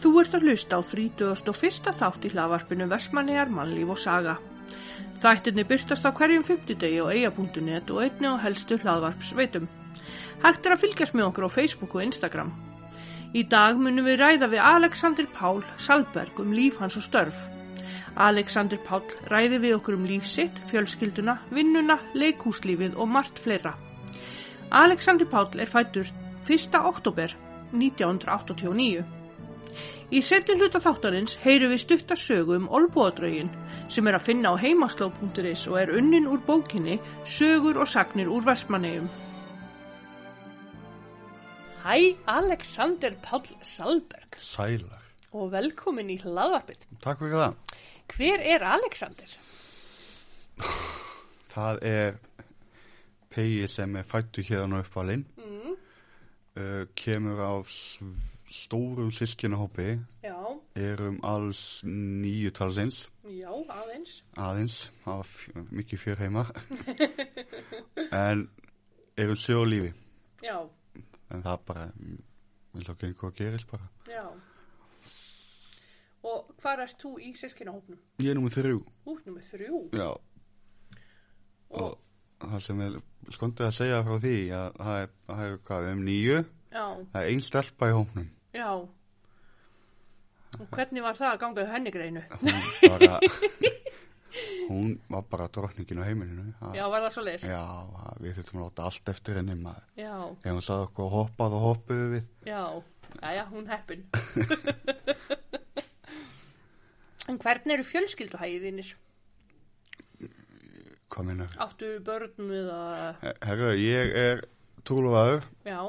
Þú ert að hlusta á 31. þátt í hlaðvarpinu Vestmannegar mannlíf og saga. Þættinni byrtast á hverjum 50 degi á eia.net og einni á helstu hlaðvarpsveitum. Hægt er að fylgjast með okkur á Facebook og Instagram. Í dag munum við ræða við Alexander Pál Salberg um líf hans og störf. Alexander Pál ræði við okkur um líf sitt, fjölskylduna, vinnuna, leikúslífið og margt fleira. Alexander Pál er fættur 1. oktober 1989. Í setjum hluta þáttarins heyru við stutta sögu um Olboðadraugin sem er að finna á heimasló.is og er unnin úr bókinni Sögur og sagnir úr Vestmannegjum. Hæ, Alexander Páll Salberg Sælar. og velkomin í hlaðvarpið. Takk fyrir það. Hver er Alexander? Það er pegi sem er fættu hérna upp alinn, uh, kemur af sv- stórum sískinahópi, Já, erum alls nýju talsins, já, aðeins. aðeins, hafa f- mikið fjör heima, en erum sjö á lífi, Já, en það bara, mm, vil það gengur að gerist bara. já. Og hvar ert þú í sískinahópnum? Ég er númer þrjú, Út nummer þrjú. já, og það sem er skondið að segja frá því, að það er, það er hvað, um nýju, Já, það er ein stelpa í hópnum. já. Og hvernig var það að ganga í henni greinu? hún bara hún var bara drotningin á heimilinu Ha- Já, var það svo leis? já ha- við þurfum að láta allt eftir henni maður Já, ef hún sagði okkur að hoppa þá hoppuðu við já, já, hún heppin. en hvernig eru fjölskylduhæðinir? hvað minnar Áttu börn eða... herru ég er trúluvaður Já,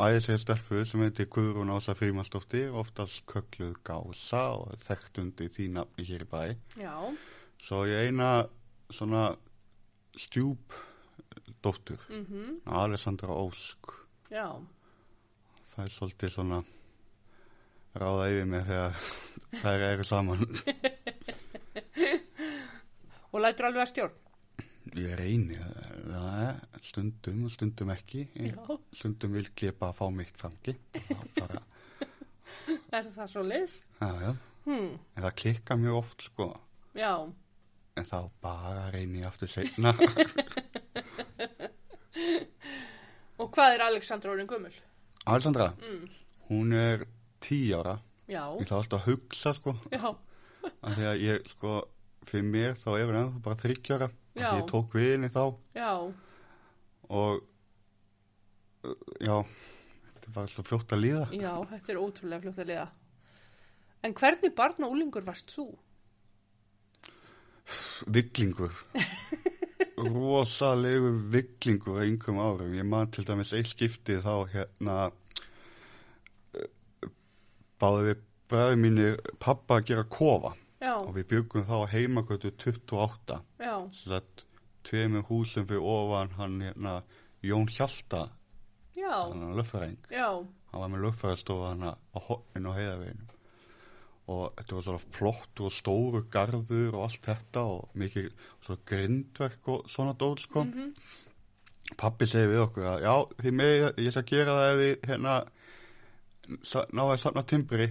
æðislega stelpu sem heitir Guðrún Ása Frímansdóttir oftast kökluð gása og þekktundi því nafni hér í bæ já, svo ég er eina svona stjúp dóttur mhm, Alessandra Ósk já, það er svolítið svona ráða yfir mig þegar þær eru saman og lætur alveg að stjórn. ég reyni það er stundum og stundum ekki Ég- Já. stundum vil ég bara fá mitt fangi Það bara, Er það svo leis? já, já. Hmm, en það klikka mjög oft sko já, en þá bara reyni ég aftur seinna og hvað er Alexandra orðin gummul? Alessandra, Mm. hún er tí ára Já, ég þarf alltaf að hugsa sko já, að því að ég sko fyrir mér þá er hún ennþá bara þryggjára Já. ég tók við henni þá já, og uh, já þetta var svo fljótt að líða já, þetta er ótrúlega fljótt að liða. En hvernig barn og úlingur varst þú? villingur rosalegu villingur á einhverjum árum ég man til dæmis eitt skiptið þá hérna uh, báðu við bræði mínir pappa að gera kofa Já, og við byggum þá á heimakötu 28 já, sem sagt tveimur húsum fyrir ofan hann hérna Jón Hjalta já, hann er löffræðing já, hann var með lögfæðastofa hann á horninu og heiðaveginu og þetta var svona flott og stóru garður og allt þetta og mikið svona grindverk og svona dól sko pappi segi við okkur að já því með ég skal gera það ef þið hérna sa- náðu að safna timbri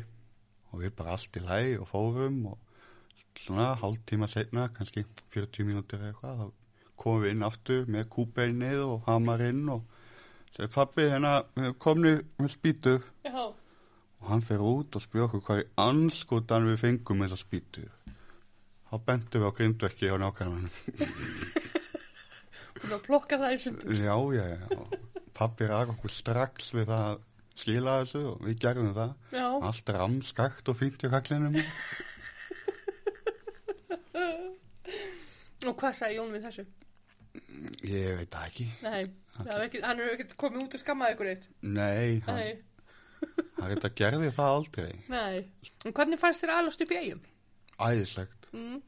og við bara allt í læg og fórum og svona hálftíma setna kannski 40 mínútur eða eitthvað þá komum við inn aftur með kúbeinið og hamarinn og segi pappi hérna við erum komnir með spýtur já. og hann fer út og spyr okkur hvað í anskotan við fengum þessa spýtu þá bentum við á grindverki á nákvæmlega Búin að plokka það í sundur. já, já, já og pappi rak okkur strax við það að skila þessu og við gerðum það Já, allt ramskakt og fínt í kaklinum og hvað sagði Jón við þessu? ég veit það ekki Nei, það er ekki, hann er ekkert komið út og skammaði ykkur eitt. nei, hann, Nei, hann reynda gerði það aldrei nei. En hvernig fannst þér að alast upp í eigum? æðislegt, Mm.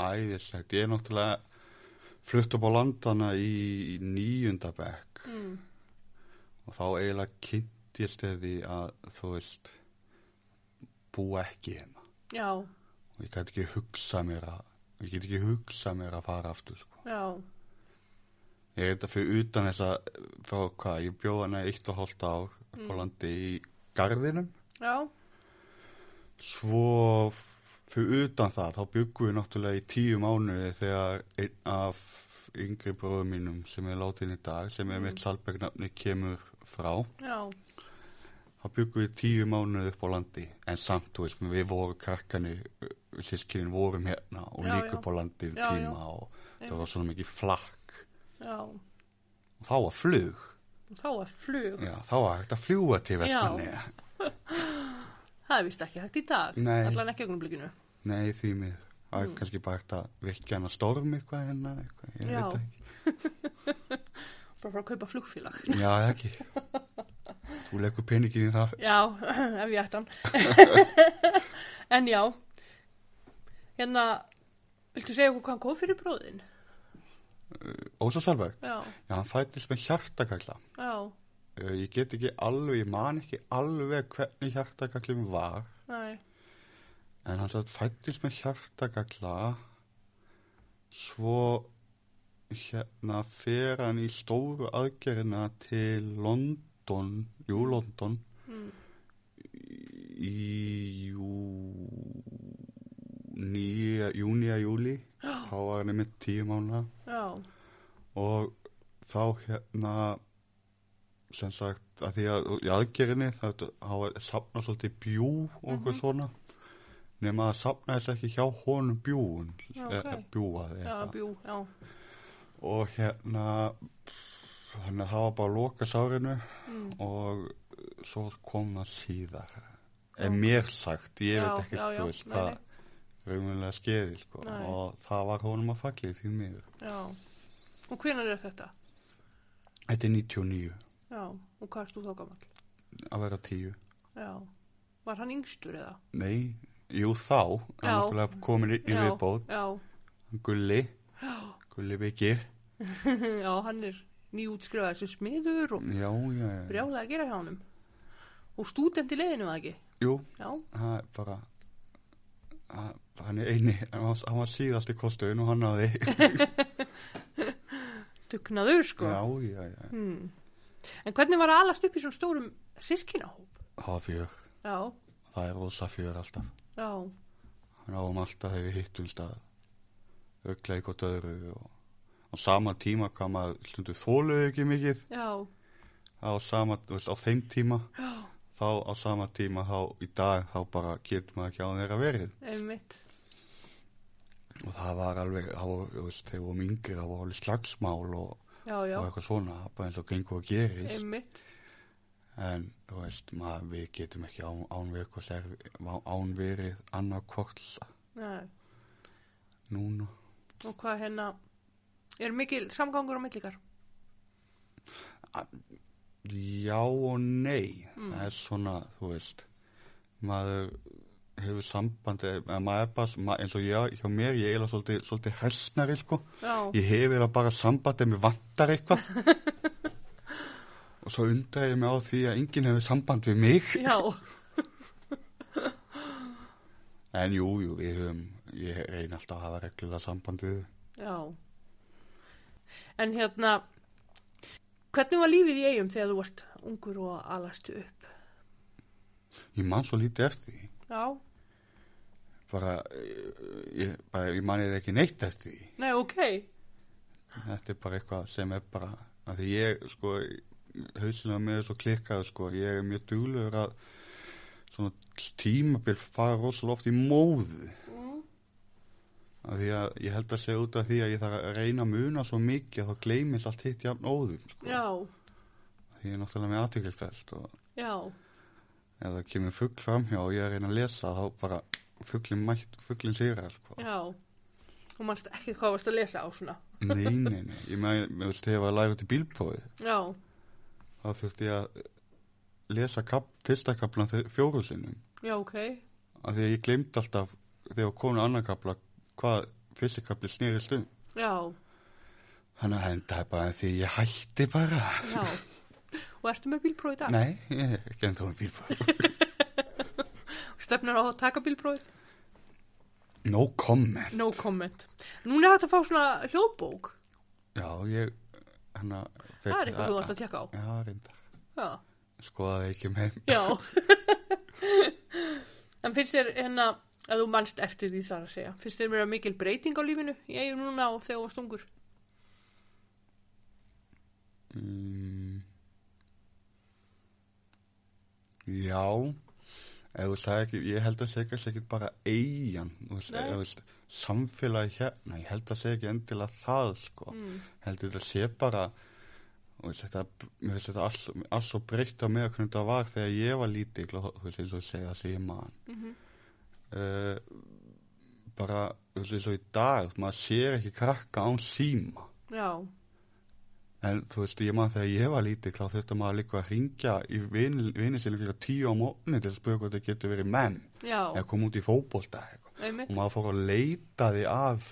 æðislegt ég er náttúrulega flutt upp á landana í nýjunda bekk Mm. og þá eiginlega kynntist ég því að þú veist búa ekki hérna Já, og ég gæti ekki hugsa mér að ég get ekki hugsa mér að fara aftur sko. já, ég er þetta fyrir utan þess að frá Mm. hvað, ég bjóð hana eitt og hálft ár upp á landi í garðinum já, svo f- fyrir utan það þá byggum við náttúrulega í tíu mánuði þegar einn af yngri bróðum mínum sem er látin í dag sem Mm. er mitt salbergnafni kemur frá já, þá byggum við tíu mánuði upp á landi en samt, þú veist, við vorum krakkanu sískinin vorum hérna og Já, líka já. upp á landi um Já, já. tíma og það var svona mikið flakk já. og þá var flug Þá er flug. já, þá var hægt að fljúa til vestmanni Það er vist ekki hægt í dag. Nei. Allan ekki augnublikinu. nei, því mér það Mm. er kannski bara hægt að virkja hann að storm eitthvað hérna, eitthvað, ég Já. veit ekki Bara frá að kaupa flugfélag. Já, eða ekki. Þú leggur peningin í það. Já, ef ég ætti hann. en já, hérna, viltu segja okkur hvað hann góð fyrir bróðin? Ósa Salberg, Já, já, hann fættist með hjartakakla. já, Eh, Ég get ekki alveg, ég man ekki alveg hvernig hjartakaklum var, næ, en hann satt fættist með hjartakakla, svo hérna fer hann í stóru aðgerina til London, jú, London, í jú, nýja, júni að júli, þá var hann einmitt tíu mánuða. já, og þá hérna sem sagt að því að í aðgerinni þá þá safna svolítið bjú og eitthvað Mhm. svona nema að safna þess ekki hjá honum bjúun Já, okay. ok. e, bjúað já, eitthvað bjú, já, og hérna þannig að það var bara að loka sárinu Mm. og svo kom það síðar er mér sagt, ég Já, veit ekki já, já, þú veist nei, hvað nei. raunverulega skeði sko. Nei. og það var honum að fallið því miður já. Og hvenær er þetta? þetta er 99 Já, og hvað ert þú þá gamall? að vera 10 Já, var hann yngstur eða? Nei, jú þá Já. hann er náttúrulega komin inn í já, viðbót Já, Hann Gulli, Gulli Byggir já, hann er nýjútskrifaði sem smiður og Já, já, já, brjálega að gera hjá honum. Og stúdent í leiðinu, eða ekki? jú, Já, það er bara það- hann er eini hann var, hann var síðast í kostuðin og hann náði dugnaður sko. Hmm. Já, já, já, En hvernig var að alast upp í svona stórum sískinahóp? það var fjör Já, það er rosa fjör alltaf já, hann áum alltaf þegar við hittum stað auglega eitthvað öðru og á sama tíma hvað maður stundu þóluðu ekki mikið já, á, sama, þú veist, á þeim tíma já, þá á sama tíma þá í dag þá bara getur maður ekki á þeirra verið einmitt. og það var alveg, það var, þú veist, þegar við vorum yngri það var alveg slagsmál og, Já, já, og eitthvað svona, það bara eins og gengur að gerist einmitt. en þú veist, maður, við getum ekki án, ánverið eitthvað servi, ánverið annað hvort Nei. núna Og hvað hérna, er mikil samgangur á millikar? já og nei Mm. það er svona, þú veist maður hefur sambandi eða maður er bara, maður, eins og ég hjá mér, ég er eiginlega svolítið, svolítið hessnari sko. Já, ég hef eða bara samband ef mér vantar eitthvað og svo undra ég mig á því að enginn hefur samband við mig já, en jú, jú, ég, höfum, ég reyna alltaf að hafa reglulega samband við þau. já. En hérna, hvernig var lífið í eigum þegar þú varst ungur og að alast upp? ég man svo lítið eftir því Já, bara eh, ég, bara, ég man eða ekki neitt eftir því nei, ok, þetta er bara eitthvað sem er bara að því ég sko hausinu á mig er svo klikkaður sko ég er mjög duglegur að svona tímabil fara rosalega oft í móðu að því að ég held að segja út af því að ég þarf að reyna að muna svo mikið að þá gleymis allt hitt jafn óðum sko. já, því ég er náttúrulega með aðtökilsfælt og já, ef það kemur fugg framhjá og ég er að reyna að lesa þá bara fugglin mætt, fugglin sigra sko. já. Og mannst ekki hvað varst að lesa á svona. nei, nei, nei, ég með, með veist þegar ég var að læra til bílprófið Já, þá þurfti ég að lesa kap, fyrsta kaplan fjóru sinnum já, ok, af því að ég glemd alltaf þegar konu annar kapla hvað fyrsti kapli snerist um já, hann að henda bara því ég hætti bara já. Og ertu með bílpróf í dag? nei, ég er ekki enda um bílfæð Stefnar á að taka bílpróf? no comment No comment. Núna er hægt að fá svona hljóðbók. já, ég hann að Það er eitthvað þú átt að tjekka á. já, reyndar Já. skoðaði ekki um heim Já. En finnst þér hérna, að þú manst eftir því þar að segja, finnst þér mér að mikil breyting á lífinu í eigum núna og þegar þú varst ungur? Mm. Já ef þú sagði ekki, ég held að segja ekki bara eigin Nei. samfélagi hérna, ég held að segja ekki endilega það sko Mm. heldur þetta sé bara þú veist, þetta, mér finnst þetta alls, alls svo breytt á mig að hvernig þetta var þegar ég var lítill og þú veist eins og ég segja það sem ég man uh, bara þú veist eins og í dag maður sér ekki krakka án síma Já, En þú veist, ég maður þegar ég var lítið þá þurfti maður líka að ringja í vinið sinni fyrir tíu á mótni til að spöku hvort það getur verið menn já, eða koma út í fótbolta eða eitthvað. einmitt, og maður fór að leita því af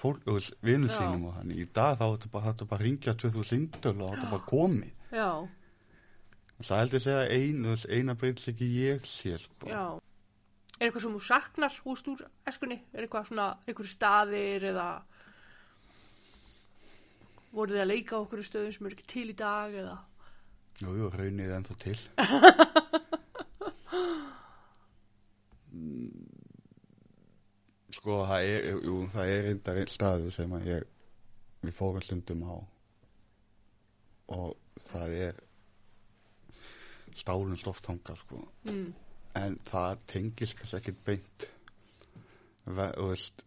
fólk, þú veist, vinið Já. sínum og þannig í dag þá þetta bara, þetta bara að ringja 2000 sindul og þetta bara komið já, og það held ég að segja ein, þú veist, eina breytis ekki ég sé sko. já. Er eitthvað sem þú saknar húst úr eskunni? Er eitthvað svona, eitthvað staðir eða voruð þið að leika á okkur stöðum sem er ekki til í dag eða? Jú, jú, raunir ennþá til. Mm, sko, það er, jú, það er reyndar einn staður sem að ég, við fórum stundum á og það er stálum stoft hangað, sko. Mm. En það tengist kannski ekkit beint. Ve- Þú veist,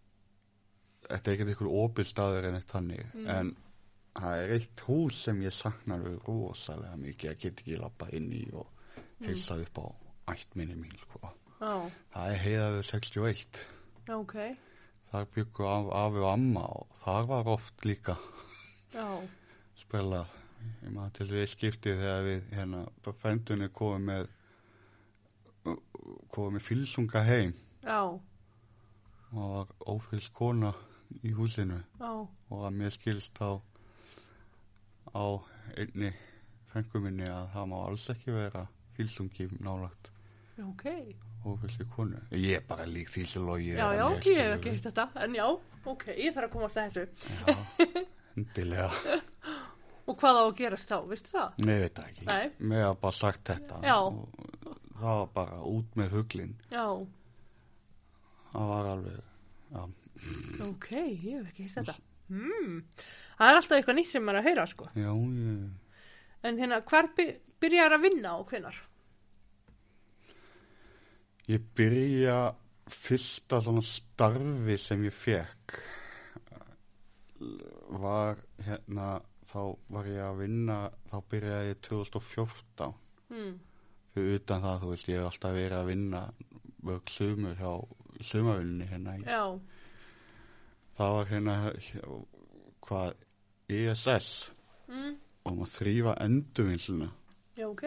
þetta er ekkert einhver opið staður en eitt þannig, Mm. en það er eitt hús sem ég saknar alveg rosalega mikið að geta ekki lappa inn í og heilsa upp á ættminni mín sko. Já, það er heiðaður 61 já, ok, þar byggu af, afi og amma og þar var oft líka já, sprella ég maður til því skipti þegar við hérna, fændunni komum með komum með fylsunga heim já, og það var ófrils kona í húsinu já, og að mér skilst á á einni fenguminni að það má alls ekki vera fylsungi nálagt já, ok. ófylgstu konu ég er bara lík því sem logi Já, já, ég hef ekki hitt þetta, en já, ok, ég þarf að komast að þessu. já, endilega, Og hvað á að gerast þá, veistu það? nei veit það ekki Nei. mér hafa bara sagt þetta Já. og það var bara út með huglin Já, það var alveg já, ok, ég hef ekki hitt þetta. Hmm, það er alltaf eitthvað nýtt sem maður er að heyra, sko. já, ég En hérna, hvar by byrjar að vinna og hvenar? Ég byrja fyrsta svona starfi sem ég fekk var hérna þá var ég að vinna þá byrjaði ég 2014 Hmm, fyrir utan það þú veist ég hef alltaf verið að vinna mörg sumur hjá sumavinni hérna í- já, það var hérna hjá- hvað ISS mm, og maður þrýfa endurvinnsluna já, ok,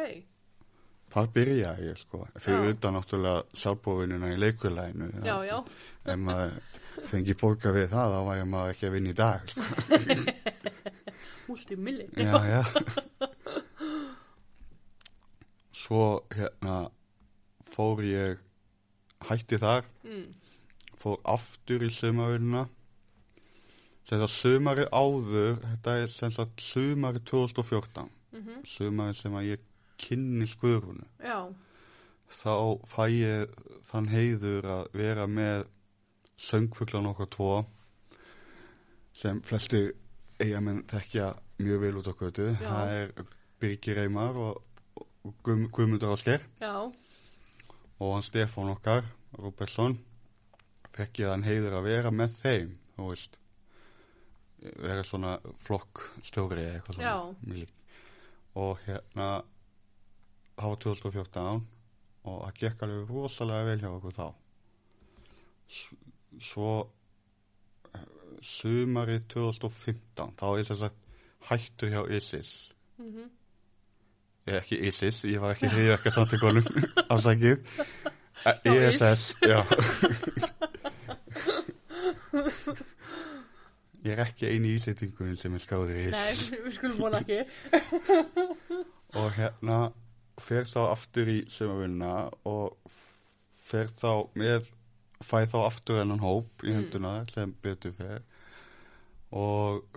þar byrjaði ég sko fyrir Já. utan náttúrulega sjálfbóvinuna í leikulæginu já, já, ef maður fengi bóka við það þá væri maður ekki að vinna í dag sko. multimilli. já, já svo hérna fór ég hætti þar Mm, fór aftur í sumarvinna sem það sumari áður þetta er sem sagt sumari 2014 mhm, sumari sem að ég kynni skurfunu já, þá fæ ég þann heiður að vera með söngfuglan okkar tvo sem flestir eigamenn þekkja mjög vel út á götu. Já. Það er Birgir Eymar og, og Guðm- Guðmundur Ásker já, og hann Stefán okkar, Róbertsson, fekk ég þann heiður að vera með þeim, þú veist, vera svona flokkstjóri eða eitthvað svona. Já. Mér lík- Og hérna, það var 2014 og það gekk alveg rosalega vel hjá okkur þá. S- Svo eh, sumarið 2015, þá er þess að hættur hjá ISIS. mhm, Ég er ekki ISIS, ég var ekki hriðverka samtökunum afsakið Já, Eh, ISS, já Ég er ekki eini ísettingunin sem er skráður í nei, ISIS við skulum vona ekki, og hérna fer þá aftur í sumavinna og fer þá með fæ þá aftur ennan hóp Mm. í henduna sem betur fer og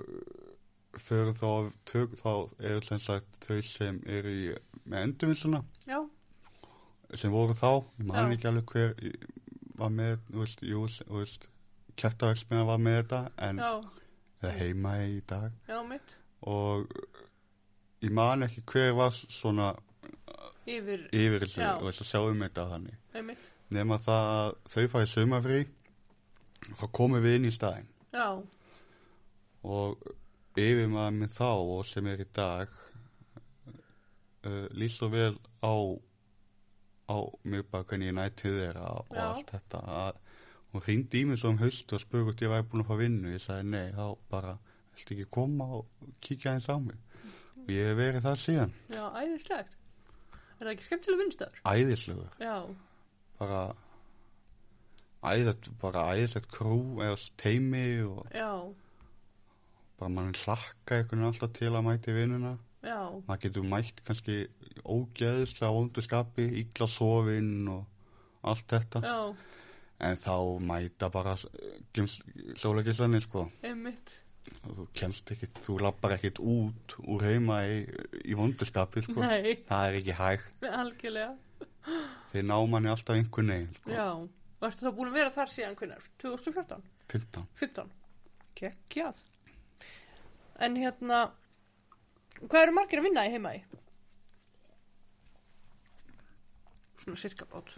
fyrir þá, tök, þá eru sem sagt þau sem eru í, með endurvinnsluna já, sem voru þá, ég man Já. ekki alveg hver í- var með, þú veist, jú, þú veist, kjartaverksmiðan var með þetta, en já, eða heima í dag, já, mitt og ég man ekki hver var s- svona yfir, yfir Já. og þess að sjáum þetta þannig. einmitt, Nefna það að þau farið sumafrí, þá komum við inn í staðinn já og yfirmaður minn þá og sem er í dag uh, lýst svo vel á á mjög bara hvernig ég nætti þeirra og Já. allt þetta að hún hringdi í mig svo um haust og spurði hvort ég væri búin að fá vinnu ég sagði nei, þá bara viltu ekki koma og kíkja eins á mig og ég hef verið það síðan Já, æðislegt. Er það ekki skemmtileg vinnstæður? æðislegur, Já, bara æðislegt, bara æðislegt krú eða teimi og já, bara mann hlakka einhvern veginn alltaf til að mæti vinnuna já, maður getur mætt kannski ógeðslega vondu skapi, illa sofinn og allt þetta já, en þá mæta bara sólegisleginni sko einmitt. og þú kemst ekki, þú lappar ekkit út úr heima í, í vondu skapi sko, Nei, það er ekki hægt algjörlega. þeir ná manni alltaf einhvern veginn sko, Já, varstu þá búin að vera þar síðan hvernig? 2014? 15 15? Kekjað. En hérna, hvað eru margir að vinna í heima í? Svona sirka bát.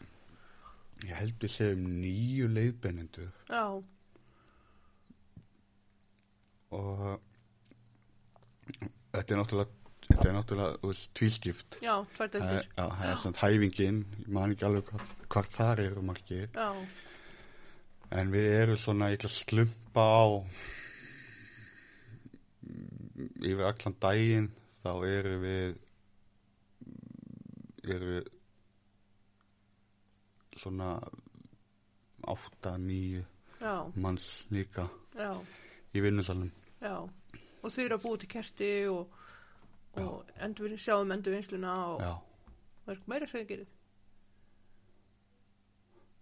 ég held við séum nýju leiðbennendur Já, og uh, þetta er náttúrulega þetta er náttúrulega þú veist, tvískipt já, tvær Það er- dættir. Já, það er svona hæfingin, ég man ekki alveg hvað, hvað þar eru margir, Já, en við erum svona ég ætla að slumpa á mm, yfir allan daginn, þá erum við, erum við svona átta, nýju já, manns líka já, í vinnusalum. já. Og þau eru að búa til kerti og, og endur, sjáum endurvinnsluna og... Já, Það er ekki meira sem ég gerir.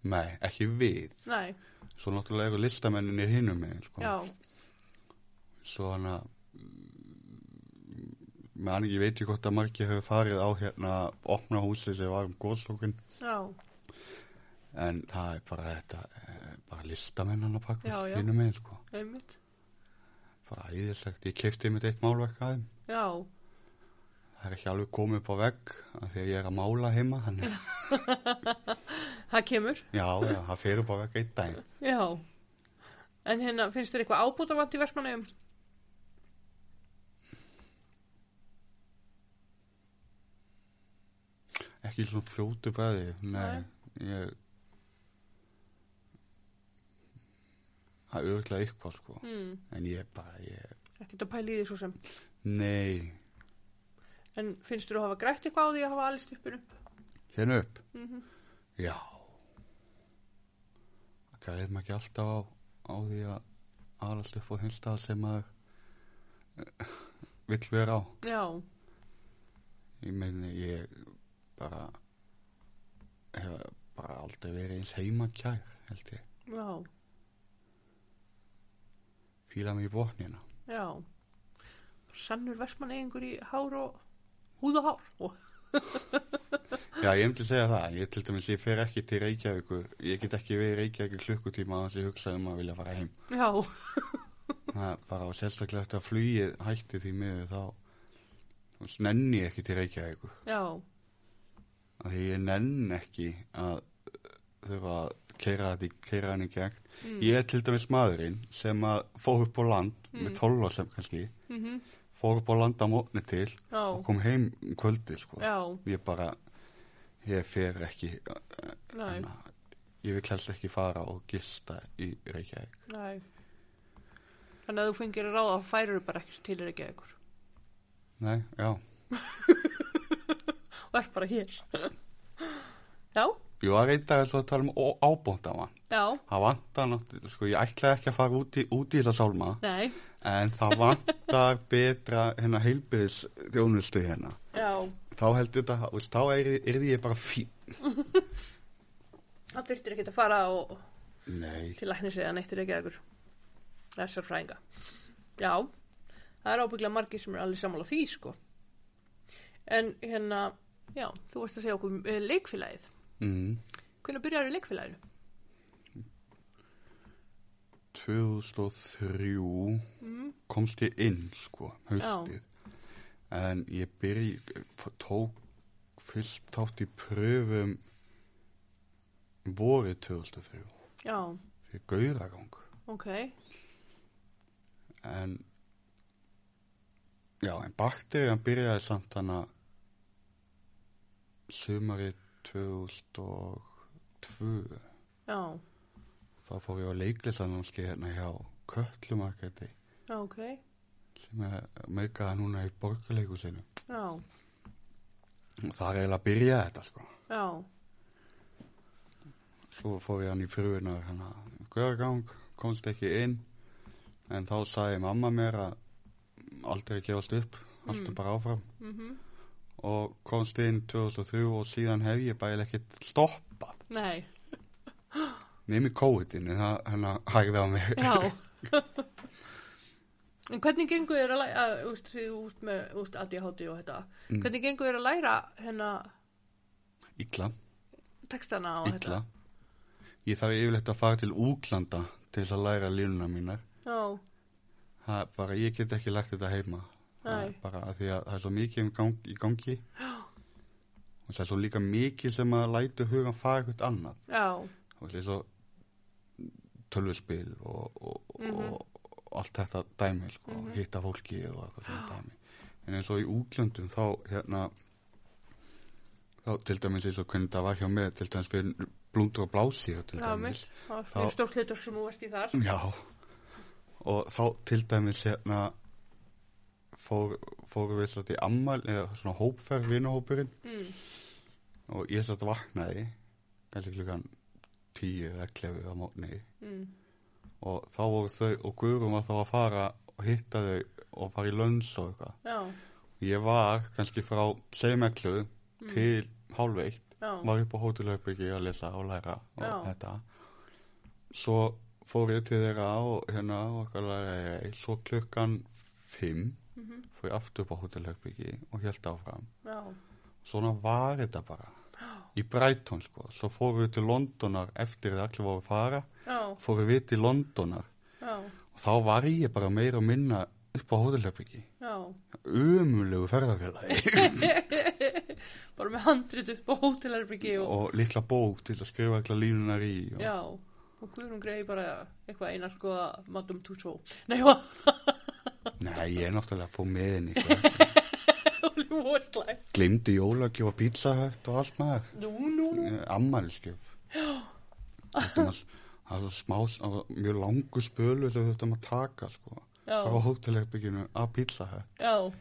nei, ekki við, Nei, svo náttúrulega eru listamenninni hinum með, sko. já, svona mm, man, ég veit ekki hvort að margir hefur farið á hérna opna húsi sem var um góðslókin já, en það er bara þetta eh, bara listamenn hann að pakka Já, já. hinum megin sko einmitt. bara æðislegt, ég keipti mitt eitt málverk aðeim Já, það er ekki alveg komið upp á vegg af því að ég er að mála heima þannig, það kemur. já, já, það fer upp á vegg eitt daginn Já. En hérna, finnst þér eitthvað ábútavand í Vestmannaugum? ekki svona fljótu bræði nei, ég það er örglega eitthvað sko Hmm, en ég bara, ég, ekkert að pæla í því svo sem. nei En finnst þér að hafa grætt eitthvað á því að hafa allir stippur upp? hérna upp Mm Já Það greiði maður ekki alltaf á, á því að aðalast upp á þeim stað sem maður eh, vill vera á Já, Ég meini ég bara hef bara aldrei verið eins heima kær held ég, já, fíla mig í botnina já. Sannur Vestmannaugingur í hár og húð og hár. Og, Já, ég hefndi að segja það, ég til dæmis ég fer ekki til Reykjavíkur, ég get ekki verið í Reykjavíkur klukkutíma að þess ég hugsa um að vilja fara heim já, Það er bara og sérstaklega eftir að flugið hætti því miður þá þú veist, nenni ég ekki til Reykjavíkur já, að því ég nenn ekki að þurfa að keira þetta í keira hann í gegn Mm. ég er til dæmis maðurinn sem að fór upp á land með tólla sem kannski mm fór upp á land á mótni til já, og kom heim um kvöldi sko. já, ég bara ég fer ekki næ, hana, ég vil helst ekki fara og gista í Reykjavík næ. Þannig að þú fengir að ráða að færur bara ekkert til er ekki eitthvað. nei, já, og er bara hér já, ég var reynda að tala um ó- ábóndamann já, það vantar náttúrulega, sko, ég ætlaði ekki að fara út í, út í þessa sálma nei en það vantar betra hérna heilbyrðis þjónustu hérna já, þá heldur þetta, þú veist, þá er, er ég bara fín það þurftir ekki að fara og, nei, til læknis eða neittir ekki ekkur það er sérfræðinga já, það er ábygglega margir sem er alveg sammála því sko en hérna, já, þú varst að segja okkur eh, leikfélagið mm, Hvernig byrjar í leikfélaginu? 2003 komst ég inn sko, haustið en ég byrj tók fyrst tátt í pröfum vorið 2003 Já, fyrir gauragang ok. en já, en bakteriðan byrjaði samt hana sumarið 2002 Já, þá fór ég á leiklisannámski hérna hjá Kötlumarketi já, ok. sem er meikaða núna í borgarleikusinu Já, og það er eiginlega að byrja þetta sko já, svo fór ég hann í frugunar hann að göðagang, komst ekki inn en þá sagði mamma mér að aldrei gefast upp haltu bara áfram mhm. og komst inn 2003 og síðan hef ég bæðilega ekkert stoppað Nei, nefnir COVID-inu, það hann að hægði á mig já. en hvernig gengur þér að læra, að, úst, því út með úst, ADHD og þetta, Mm. hvernig gengur þér að læra hennar illa, textana og illa ég þarf yfirleitt að fara til útlanda til þess að læra línuna mínar þetta? Já, það er bara, ég get ekki lært þetta heima það er Nei. bara að því að það er svo mikið um gang, í gangi og það er svo líka mikið sem að lætu hugan fara eitthvað annað já, og það er svo tölvuspil og, og, Mhm. og, og allt þetta dæmi sko, hitta fólki og eitthvað svona dæmi en eins og í útlöndum þá hérna þá til dæmis eins og hvernig það var hjá með til dæmis fyrir blúndur og blási til já, dæmis mill. Það Þá- er stórt hlutur sem þú varst í þar. Já og þá til dæmis hérna fór, fórum við satt í ammæl eða svona hópferð vinahópurinn Mm. og ég satt vaknaði kannski klukkan tíu eða klefu á mótni Mm. og þá voru þau og Guðrún var þá að fara og hitta þau og fara í lönns og eitthvað Já, ég var kannski frá semeklu til hálfveitt Mm. já, var upp á hótelherbyggi að lesa og læra og Já. þetta svo fór ég til þeirra og hérna og okkar læra ég svo klukkan fimm Mhm. fór ég aftur upp á hótelherbyggi og held áfram já, svona var þetta bara í Brighton sko, svo fórum við til Londonar eftir það allir voru að fara já, fórum við til Londonar já, og þá var ég bara meira og minna upp á hótelherbyggi já. umulegu ferðarfélagi Bara með handrit upp á hótelherbyggi og, og litla bók til að skrifa eitthvað línunar í og já, og Guðrún greiði bara eitthvað einar sko að Madame Tussauds. Nei, hvað? Nei, ég er náttúrulega að fá með henni sko. Það var vorslægt. Glimdi jólagjöf og pítsahött og allt maður Nú, nú, nú. Ammælisgjöf Þetta var s- það var svo smá, það var mjög langu spölu sem við þurftum að taka sko. Já, frá hótelherbygginu að pítsahött já, og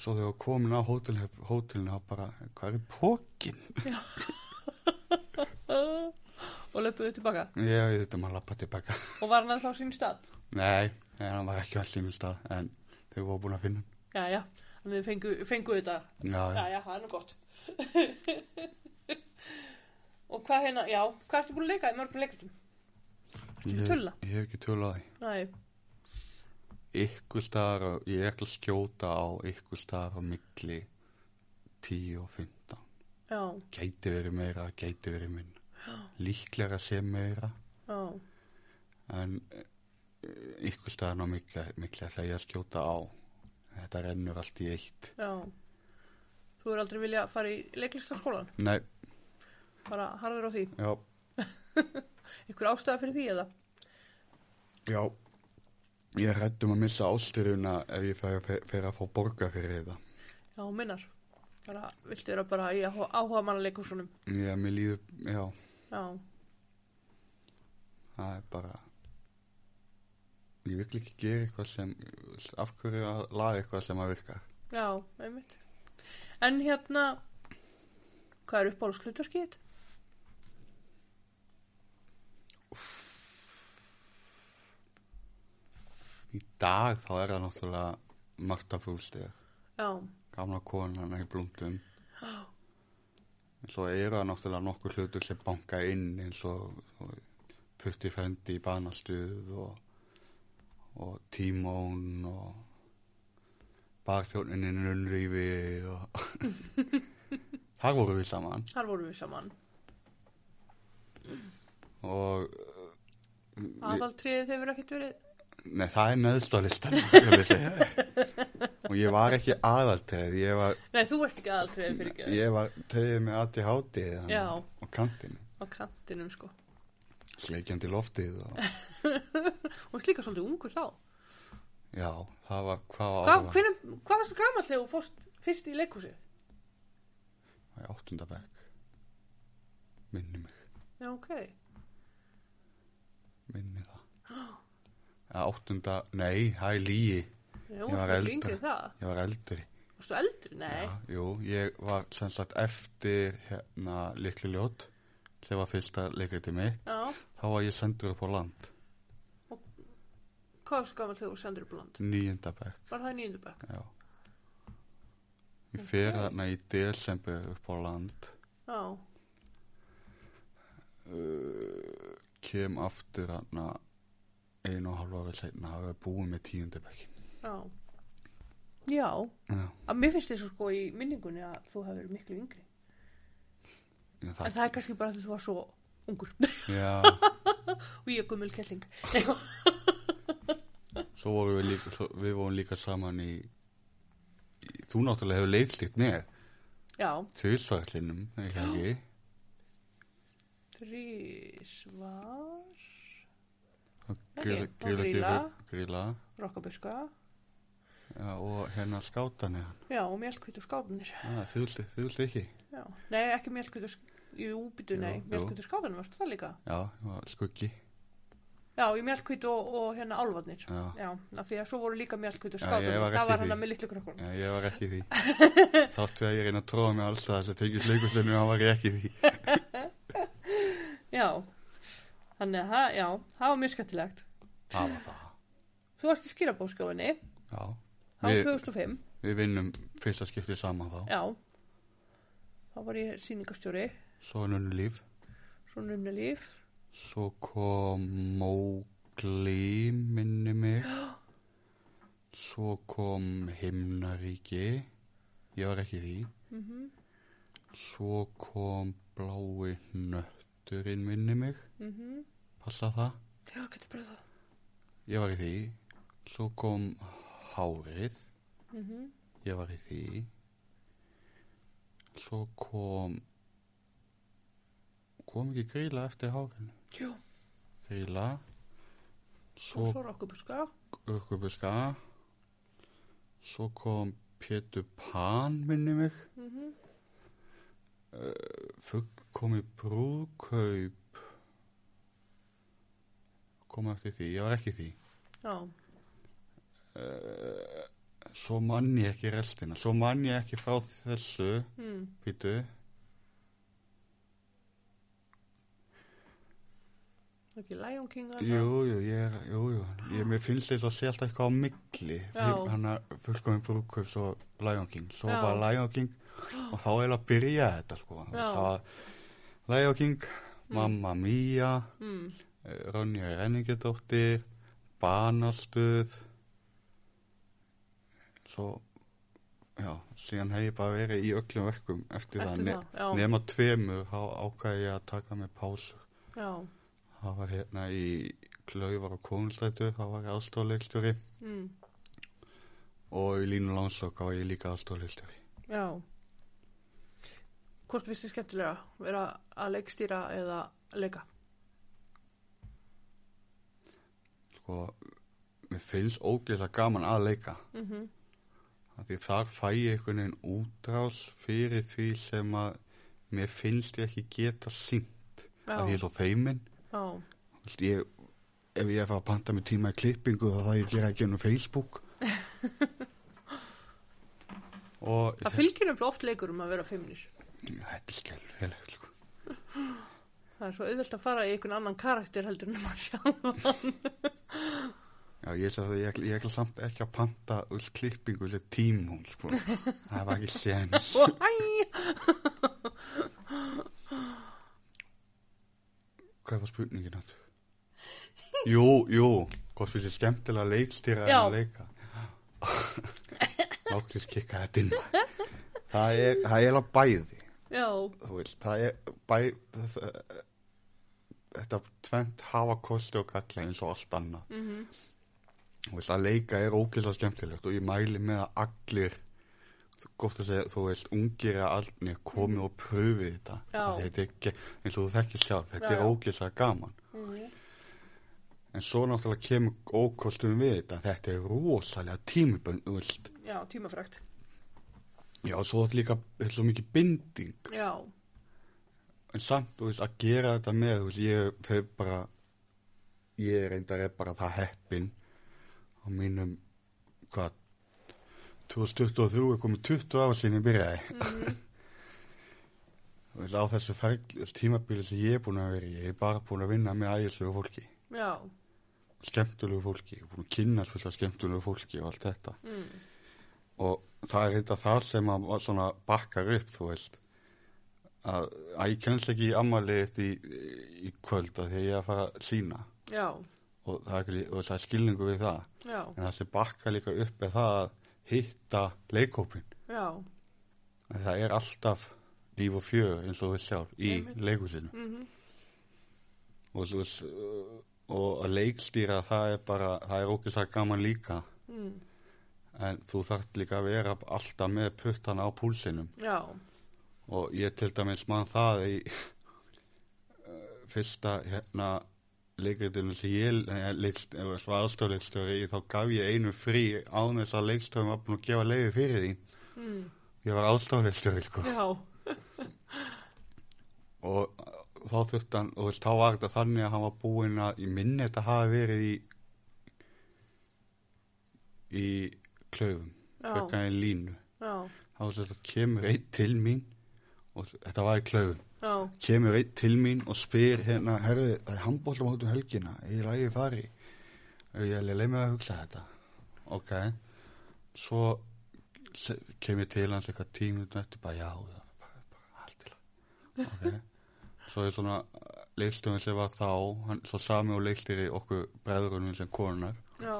svo þegar við komin á hótelherb- hótelinu þá bara, hvað er pókin? uh, og löpuðu tilbaka. Já, ég þetta maður lappa tilbaka Og var hann að þá sín stað? Nei, nei, hann var ekki allir minn stað en þau voru búin að finna hann. Já, já, þannig þið fengu, fengu þetta. Já, Já, já. já, það er nú gott. og hvað hérna, já, hvað ertu búin að leika í mörgum leikastum? Ég, Ertu tölla? ég hef ekki tölu á því Nei, ykkur staðar og ég er ekki að skjóta á ykkur staðar á milli 10 og 15 já, gæti verið meira, gæti verið minn líklega sé meira já, en eh, ykkur staðar á milli, milli ætla ég að skjóta á þetta rennur allt í eitt já. Þú er aldrei vilja að fara í leiklistarskólan, nei, bara harður á því. já, Ykkur ástæða fyrir því eða? já ég er hrædd um að missa ásturuna ef ég fer, fer, fer að fá borga fyrir þetta Já, minnar. Bara, viltu vera bara í áhuga manna leikursunum? ég, mér líður, já, Já, það er bara ég vil ekki gera eitthvað sem af hverju að laga eitthvað sem að virka já, einmitt. En hérna, hvað er uppáhaldshlutverkið þitt? í dag þá er það náttúrulega Marta Brúlstig Já, gamla konan í blúndum en svo eru það náttúrulega nokkur hlutur sem banka inn eins og, og putti frendi í banastuð og, og tímón og barþjóninni nunnrýfi og þar vorum við saman Þar vorum við saman. og Aðaltriðið hefur ekkert verið. Nei, það er neðst á listan skal ég segja. og ég var ekki aðaltreð ég var, Nei, þú ert ekki aðaltriðið fyrir ekki. ég var treðið með aðti hátið Já. og kantinn, Á kantinum, sko. sleikjandi loftið og, Og veist líka svolítið ungur þá. já, það var hvað var Hvað, ára- hvenær, hvað varstu gaman þegar þú fórst fyrst í leikhúsið? var í áttundabæk minni mig, Já, ok. minni það Já, áttunda, nei, það er líi ég Já, var þú ert eldri. yngri en það. var eldri Varstu eldri? Nei. Já, jú, ég var sem sagt eftir hérna likli ljót þegar var fyrsta leikriti mitt Já. þá var ég sendur upp á land Hvað varstu gaman þegar þú sendur upp á land? nýjendabæk Var það í nýjundu bekk? Já. Ég fer þarna í desember upp á land, Já. Eh, kem aftur þarna einu og halva ári setna, hafa búið með tíundabæki. Já. Já. Já. Að mér finnst þessu sko í minningunni að þú hafi verið miklu yngri. Já, En það, það er kannski bara því þú var svo ungur. já, og ég er gummul kelling. svo vorum við líka, svo, við vorum líka saman í, í þú náttúrulega hefur leikstýrt mér, Já. þvísvarlinum, ekki ekki, Þrísvar. Ekki, grilla, og grilla, grilla, Grýla. grilla, Rokkabuska. já, og hérna skátanir, Já, og mjölkvítur skápunir. ah, þú vildi ekki, Já. Nei, ekki mjölkvítur Jú, býtu, Jú, nei, jú. mjölkvítur skápunum, varstu það líka? já, ég var skuggi, Já, í mjölkvítu og, og hérna álvarnir. já, Já, af því að svo voru líka mjölkvítur Já, ég skápunir. var það ekki var í hann því. með litlu krökkunum. Já, ég var ekki í því. Þáttu að ég reyna að tróða mig alls að þess að tekið sleikuslinu, hann var ég ekki í því. Já. Þannig að, það- já, það var mjög skemmtilegt. Það var það. Þú varst í skýrabóðskjóðinni Já. á Við, 2005. við vinnum fyrsta skiptið saman þá. Já. Þá var ég sýningastjóri, Svo nunnu líf. svo numni líf. Svo kom Mógli, minni mig. Svo kom Himnaríki. Ég var ekki í því. Mm -hmm. Svo kom Blái Nötturinn, minni mig. Passa það. Já, getur bara það. Ég var í því. Svo kom Hárið. Mm -hmm. Ég var í því. Svo kom, kom ekki gríla eftir hárinu. Jú, Gríla, svo, svo svo rokkabuska. ökkubuska, svo kom Pétur Pan minni mig. Mm Fugg kom í brúðkaup, kom eftir því, ég var ekki í því. Eh, Já, Svo mann ég ekki restina, svo mann ég ekki frá þessu. mm. Býtu, ekki Lion King hann. Jú, jú, ég er, jú, jú, ég, mér finnst þess að sé alltaf eitthvað á milli, Já. hann að fullkominn brúkaups og Lion King, svo Já. var Lion King og þá er að byrja þetta sko, Já. það var Lion King, Hmm. Mamma Mia, Mm. eh, Ronja Renningedóttir, Banastuð, svo, já, síðan hef ég bara verið í öllum verkum Eftir eftir, það, það, já. nema tveimur, þá ákvæði ég að taka mig pásu. Já, Það var hérna í Klaufar og Konstættu, það var ég aðstofleikstjóri mm. og í Línu Lánsokk var ég líka aðstofleikstjóri. já. Hvort finnst þið skemmtilega? Vera að leikstýra eða að leika? Sko, mér finnst ógeðslega gaman að leika. Mm -hmm. Af Því þar fæ ég einhvern veginn útrás fyrir því sem að mér finnst ég ekki geta sínt. Já, Af Því ég er svo feiminn. já, Þú veist, Ég, ef ég er að panta mig tíma í klippingu þá það ég að gera ekki ennum Facebook. og það fylgir nefnilega oft leikur um að vera feimnir. þetta er skelfilegt sko. Það er svo auðvelt að fara í einhvern annan karakter heldur en maður sjá hann. Já, ég sagði að ég, ætla- ég ætla samt ekki að panta úr klippingu til tímum, sko. Það var ekki séns. Og hæ! Hvað var spurningin átt? Jú, jú, hvort fyrir skemmtilega leikstýra en Já. að leika. Nóttis kikka þetta inn. maður. Það er, það er alveg bæði. já, þú veist, það er bæ, það, þetta tvent hafa kosti og kalla eins og allt annað mm Mhm. þú veist, að leika er ógeðslega skemmtilegt og ég mæli með að allir gott að segja, þú veist, ungir að allir komi og pröfi þetta Mhm. Já. Af því þetta er ekki, eins og þú þekkir sjálf Já, þetta er já. ógeðslega gaman Mhm. en svo náttúrulega kemur ókostum við þetta, þetta er rosalega tímibönd, þú veist já, tímafrækt já, svo er líka þetta er svo mikið binding já, en samt, þú veist, að gera þetta með þú veist, ég hef bara ég reyndar er bara það heppin á mínum hvað 2023 er komið 20 ára sín ég byrjaði þú veist, á þessu ferli, tímabili sem ég er búin að vera í, ég er bara búin að vinna með ægislegu fólki já skemmtulegu fólki, ég er búin að kynast fullt af skemmtulegu fólki og allt þetta mm. og það er þetta það sem að maður svona bakkar upp þú veist að, að ég kennst ekki í ammali í, í kvöld að því að ég er að fara að sína já, og það, er, ekki- og það er skilningu við það já, en það sem bakkar líka upp er það að hitta leikópin já en það er alltaf líf og fjör eins og við sjálf í Einmitt. leikusinu Mhm. og þú veist uh, og að leikstýra það er bara það er ókvæmst að gaman líka mm. en þú þarft líka að vera alltaf með puttana á púlsinum já, og ég til dæmis mann það í eh, fyrsta hérna leikritinu sem eh, ég svarstofleikstjóri í þá gaf ég einu frí án þess að leikstjóri var búin að gefa leiði fyrir því mm. ég var ástofleikstjóri sko. já og eh, þá þurfti hann og veist, þá var þetta þannig að hann var búinn að ég minni þetta hafi verið í í klöfum Já. klökkan í línu já, þá sem sagt kemur einn til mín og þetta var í klöfum já, kemur einn til mín og spyr hérna, herðu, það er handbóltamótum helgina, ég lægi fari og ég leið með að hugsa þetta ok svo se- kem ég til hans eitthvað tími þetta bara já, það er bara, bara allt til ok svo er svona leilstöðum sem var þá hann, svo sami og leilstýri okkur breðurunum sem konunar já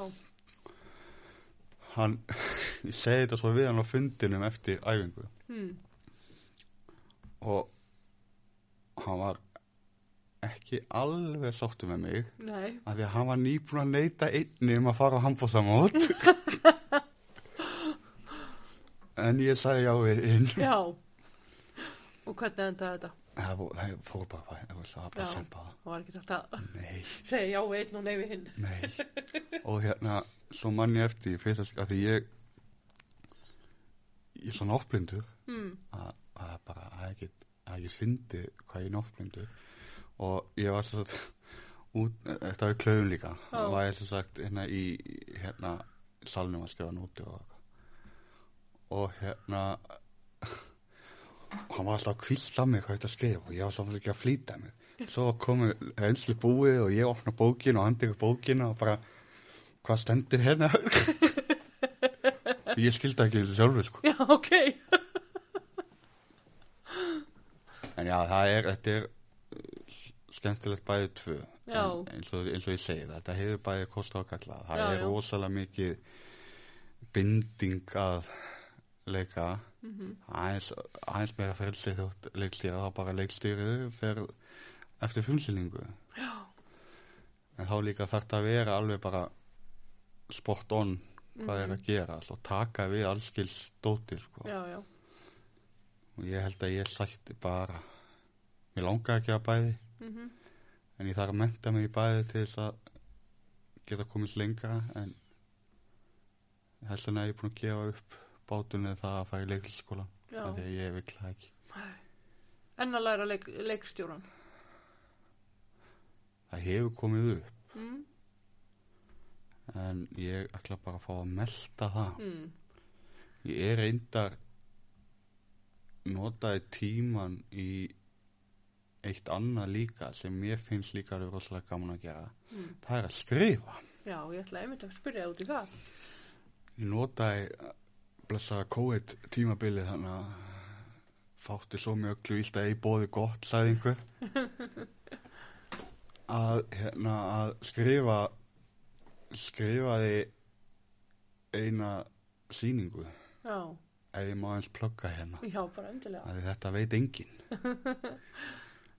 hann, ég segi þetta svo við hann á fundinum eftir æfingu mm. og hann var ekki alveg sáttu með mig nei, af því að hann var nýbúin að neyta einni um að fara á handbóðsamót en ég sagði já við inn já og hvernig endaði þetta? það fó- það fór bara það var það var bara Já. sem bara það var ekki þetta að nei, segja já við einn og nei við hinn nei og hérna, svo mann ég eftir ég fyrst að af því ég ég er svo náttblindur mm. að að það bara að ég get að ég fyndi hvað ég er náttblindur og ég var svo sagt út, þetta var í klöfum líka Já. og var ég svo sagt hérna í hérna salnum að skrifa nóti og eitthvað og hérna hann var alltaf að kvísla mig hvað þetta skrifa og ég var samt ekki að flýta mig svo komið reynslu búið og ég opna bókin og hann tekur bókina og bara hvað stendur hérna ég skildi ekki þessu sjálfur sko já, ok En já, það er, þetta er uh, skemmtilegt bæði tvö Já. En eins, og, eins og ég segi það, þetta hefur bæði kost og kalla það Já, er já. rosalega mikið binding að leika Mhm. aðeins, aðeins meira frelsi þjótt leikstýra þá bara leikstýrið fer eftir frumsýningu já, en þá líka þarf það að vera alveg bara sport on hvað er að gera og taka við allskils dóti sko. Mhm. já, já og ég held að ég sætti bara mér langaði ekki að bæði mm en ég þarf að mennta mig í bæði til þess að geta komist lengra en helst en að ég er búin að gefa upp bátunni það að fara í leiklisskóla Já. af því að ég vil það ekki en að læra leik, leikstjóran það hefur komið upp mm. en ég ætla bara að fá að melta það Mm. ég er reyndar notaði tíman í eitt annað líka sem mér finnst líka alveg rosalega gaman að gera Mm. það er að skrifa já, ég ætla einmitt að spyrja út í það Ég notaði uh, blessaða COVID tímabilið þannig að fátti svo mjög öllu ílt að ég bóði gott, sagði einhver að, hérna, að skrifa skrifaði eina sýningu já, ef ég má eins plugga hérna Já, bara endilega. að þetta veit enginn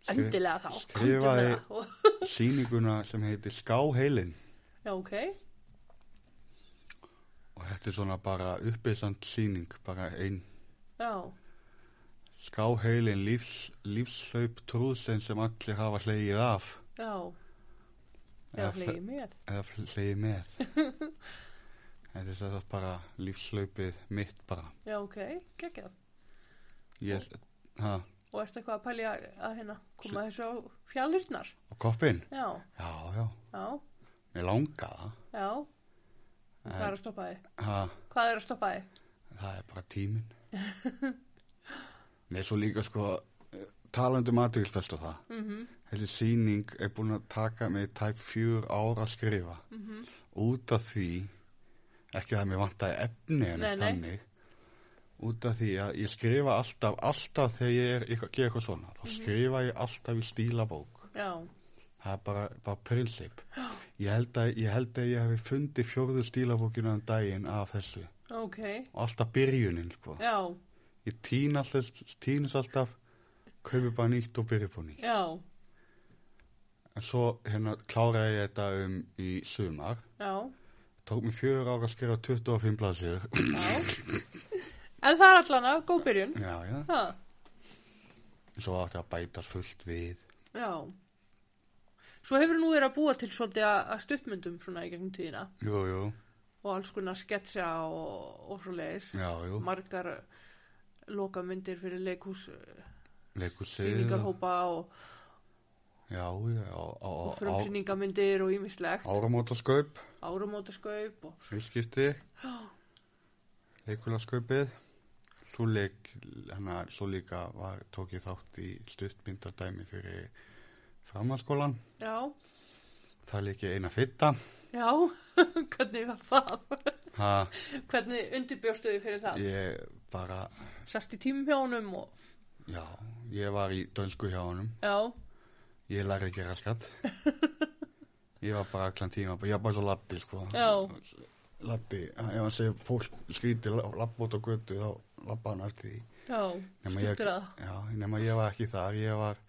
Endilega þá. komdu skrifaði- með það. Og- sýninguna sem heitir Skáheilin Já, ok. og þetta er svona bara uppisand sýning bara ein Já, Skáheilin lífs, lífslaup trúðsinn sem allir hafa hleyið af já. Já, Eða fle- hlegi mér. eða hleyið með þetta er þetta bara lífslaupið mitt bara Já, ok. Gekjað. ég, ha, Og ertu eitthvað að pælja að hérna koma þessu á fjallirnar? og koppinn Já, já, já, já, mér langa það já. Hvað er að stoppa þig? ha, Hvað er að stoppa þig? það er bara tíminn með svo líka sko talandi um aðeinsbest og það Mm þessi sýning er búin að taka mig tæp fjör ára að skrifa Mhm. -hmm. út af því ekki að mér vantaði efni en Nei, nei. þannig út af því að ég skrifa alltaf alltaf þegar ég er, ég gera eitthvað svona Mhm. þá skrifa ég alltaf í stílabók Já, það er bara, bara prinsip ég held, að, ég held að ég hefði fundið fjórðu stílabókina um daginn af þessu ok. og alltaf byrjunin sko. Já, ég týn alltaf, týnis alltaf kaupi bara nýtt og byrja búin nýtt já, En svo hérna kláraði ég þetta um í sumar. já, Tók mér fjögur ára að skrifa 25 blaðsíður. já. En það er allan að góð byrjun. já, já. Ha, Svo átti að bæta fullt við. já. Svo hefur nú verið að búa til svolítið að að stuttmyndum svona í gegnum tíðina Jú, jú. og alls konar sketsja og, og svo leiðis. Já, jú. Margar eh, lokamyndir fyrir leikhús, eh, Leikur sig. sýningarhópa og, Já, já. á- og á- á- á- frumsýningamyndir og ímislegt. Áramótaskaup, Árumótasköp og fyrskipti. Leikulaskaupið. Svo, leik, hana, svo líka var, tók ég þátt í stuttmyndadæmi fyrir framhalskólan. Já, Það leik ég eina fitta. já, hvernig var það? Ha, Hvernig undirbjóstu þið fyrir það? ég bara Sast í tímum hjá honum og, Já, ég var í dönsku hjá honum. já, Ég lærði ekki raskat. Ég var bara allan tíma, ég var bara svo lappi, sko. Já. Lappi, ef hann segir fólk skrítið lapp út á götu, þá lappa hann eftir því. já, Nema ég- stuttur að, Já, nema ég var ekki þar, ég var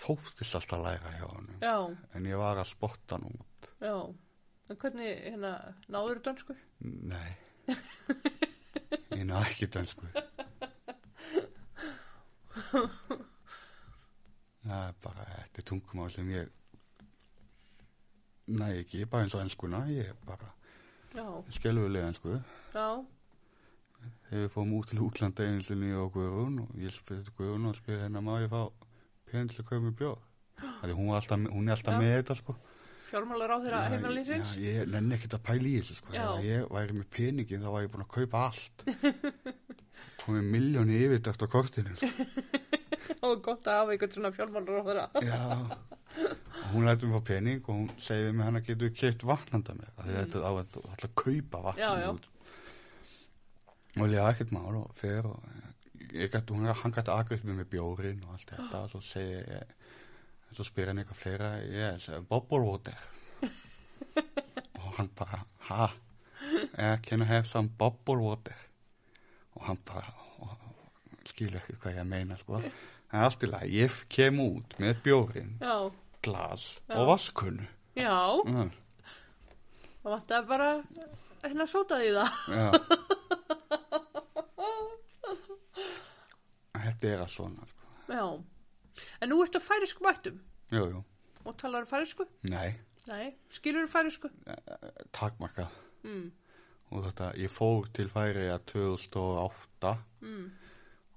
þóttist alltaf að læra hjá honum. já, En ég var að spotta hann út. já. En hvernig, hérna, náður dönsku? Nei. Ég náði ekki dönsku. Það er bara, þetta er tungumál sem ég næ ekki, ég er bara eins og enskuna, ég er bara Já, skelvulega ensku. já, Þegar við fórum út til útlanda einu sinni og Guðrún og ég spyrir þetta Guðrún og spyrir hennar má ég fá pening til að kaupa mér bjór. Þegar hún, var alltaf, hún er alltaf Já. með þetta sko. fjármálar á þeirra Já, heimalinsins? já, Ég nenni ekkert að pæla í þessu sko. hérna Já. Ef að ég væri með peningin þá var ég búin að kaupa allt komið miljóni yfirdægt á kortinu sko. Já, gott að hafa einhvern svona fjármálar á þeirra. Já Hún lætur mig fá pening og hún segir mig hann að getur keitt vatnanda mér mm. þetta er á að þú ætla að kaupa Já, já. vatnanda út og ég hafði ekkert mál og fer og eh, ég gæti, hún, hann gæti aðgriðt mig með bjórin og allt þetta og svo segi ég svo spyr hann eitthvað fleira yes, bubble water og hann bara ha, eh, can I have some bubble water og hann bara "Ó, skilur ekki hvað ég meina sko en allt í lagi, ég kem út með bjórin Já, glas Já. og vaskunnu já, mm. það vant að bara, hérna, sótaði í það. Já. Þetta er að svona sko. Já, en nú ertu að færisku mættum Jú, jú, og talar færisku? nei, Nei, skilur færisku? takmarka Mm, og þetta, ég fór til Færiða 2008 mm,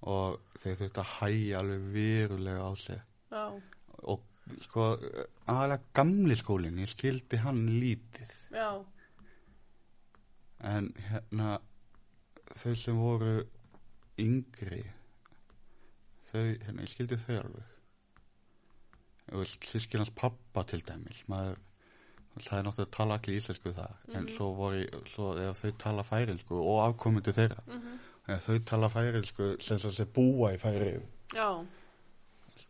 og þeir þurfti að hæja alveg verulega á sig já, og sko, aðalega gamli skólinn ég skildi hann lítið já. en hérna þau sem voru yngri þau, hérna, ég skildi þau alveg og sískil hans pappa til dæmis maður, það er náttúrulega að tala allir íslensku þar, en svo voru svo ef þau tala færinsku og afkomandi þeirra, Mhm. ef þau tala færinsku sem þess að búa í færið Já,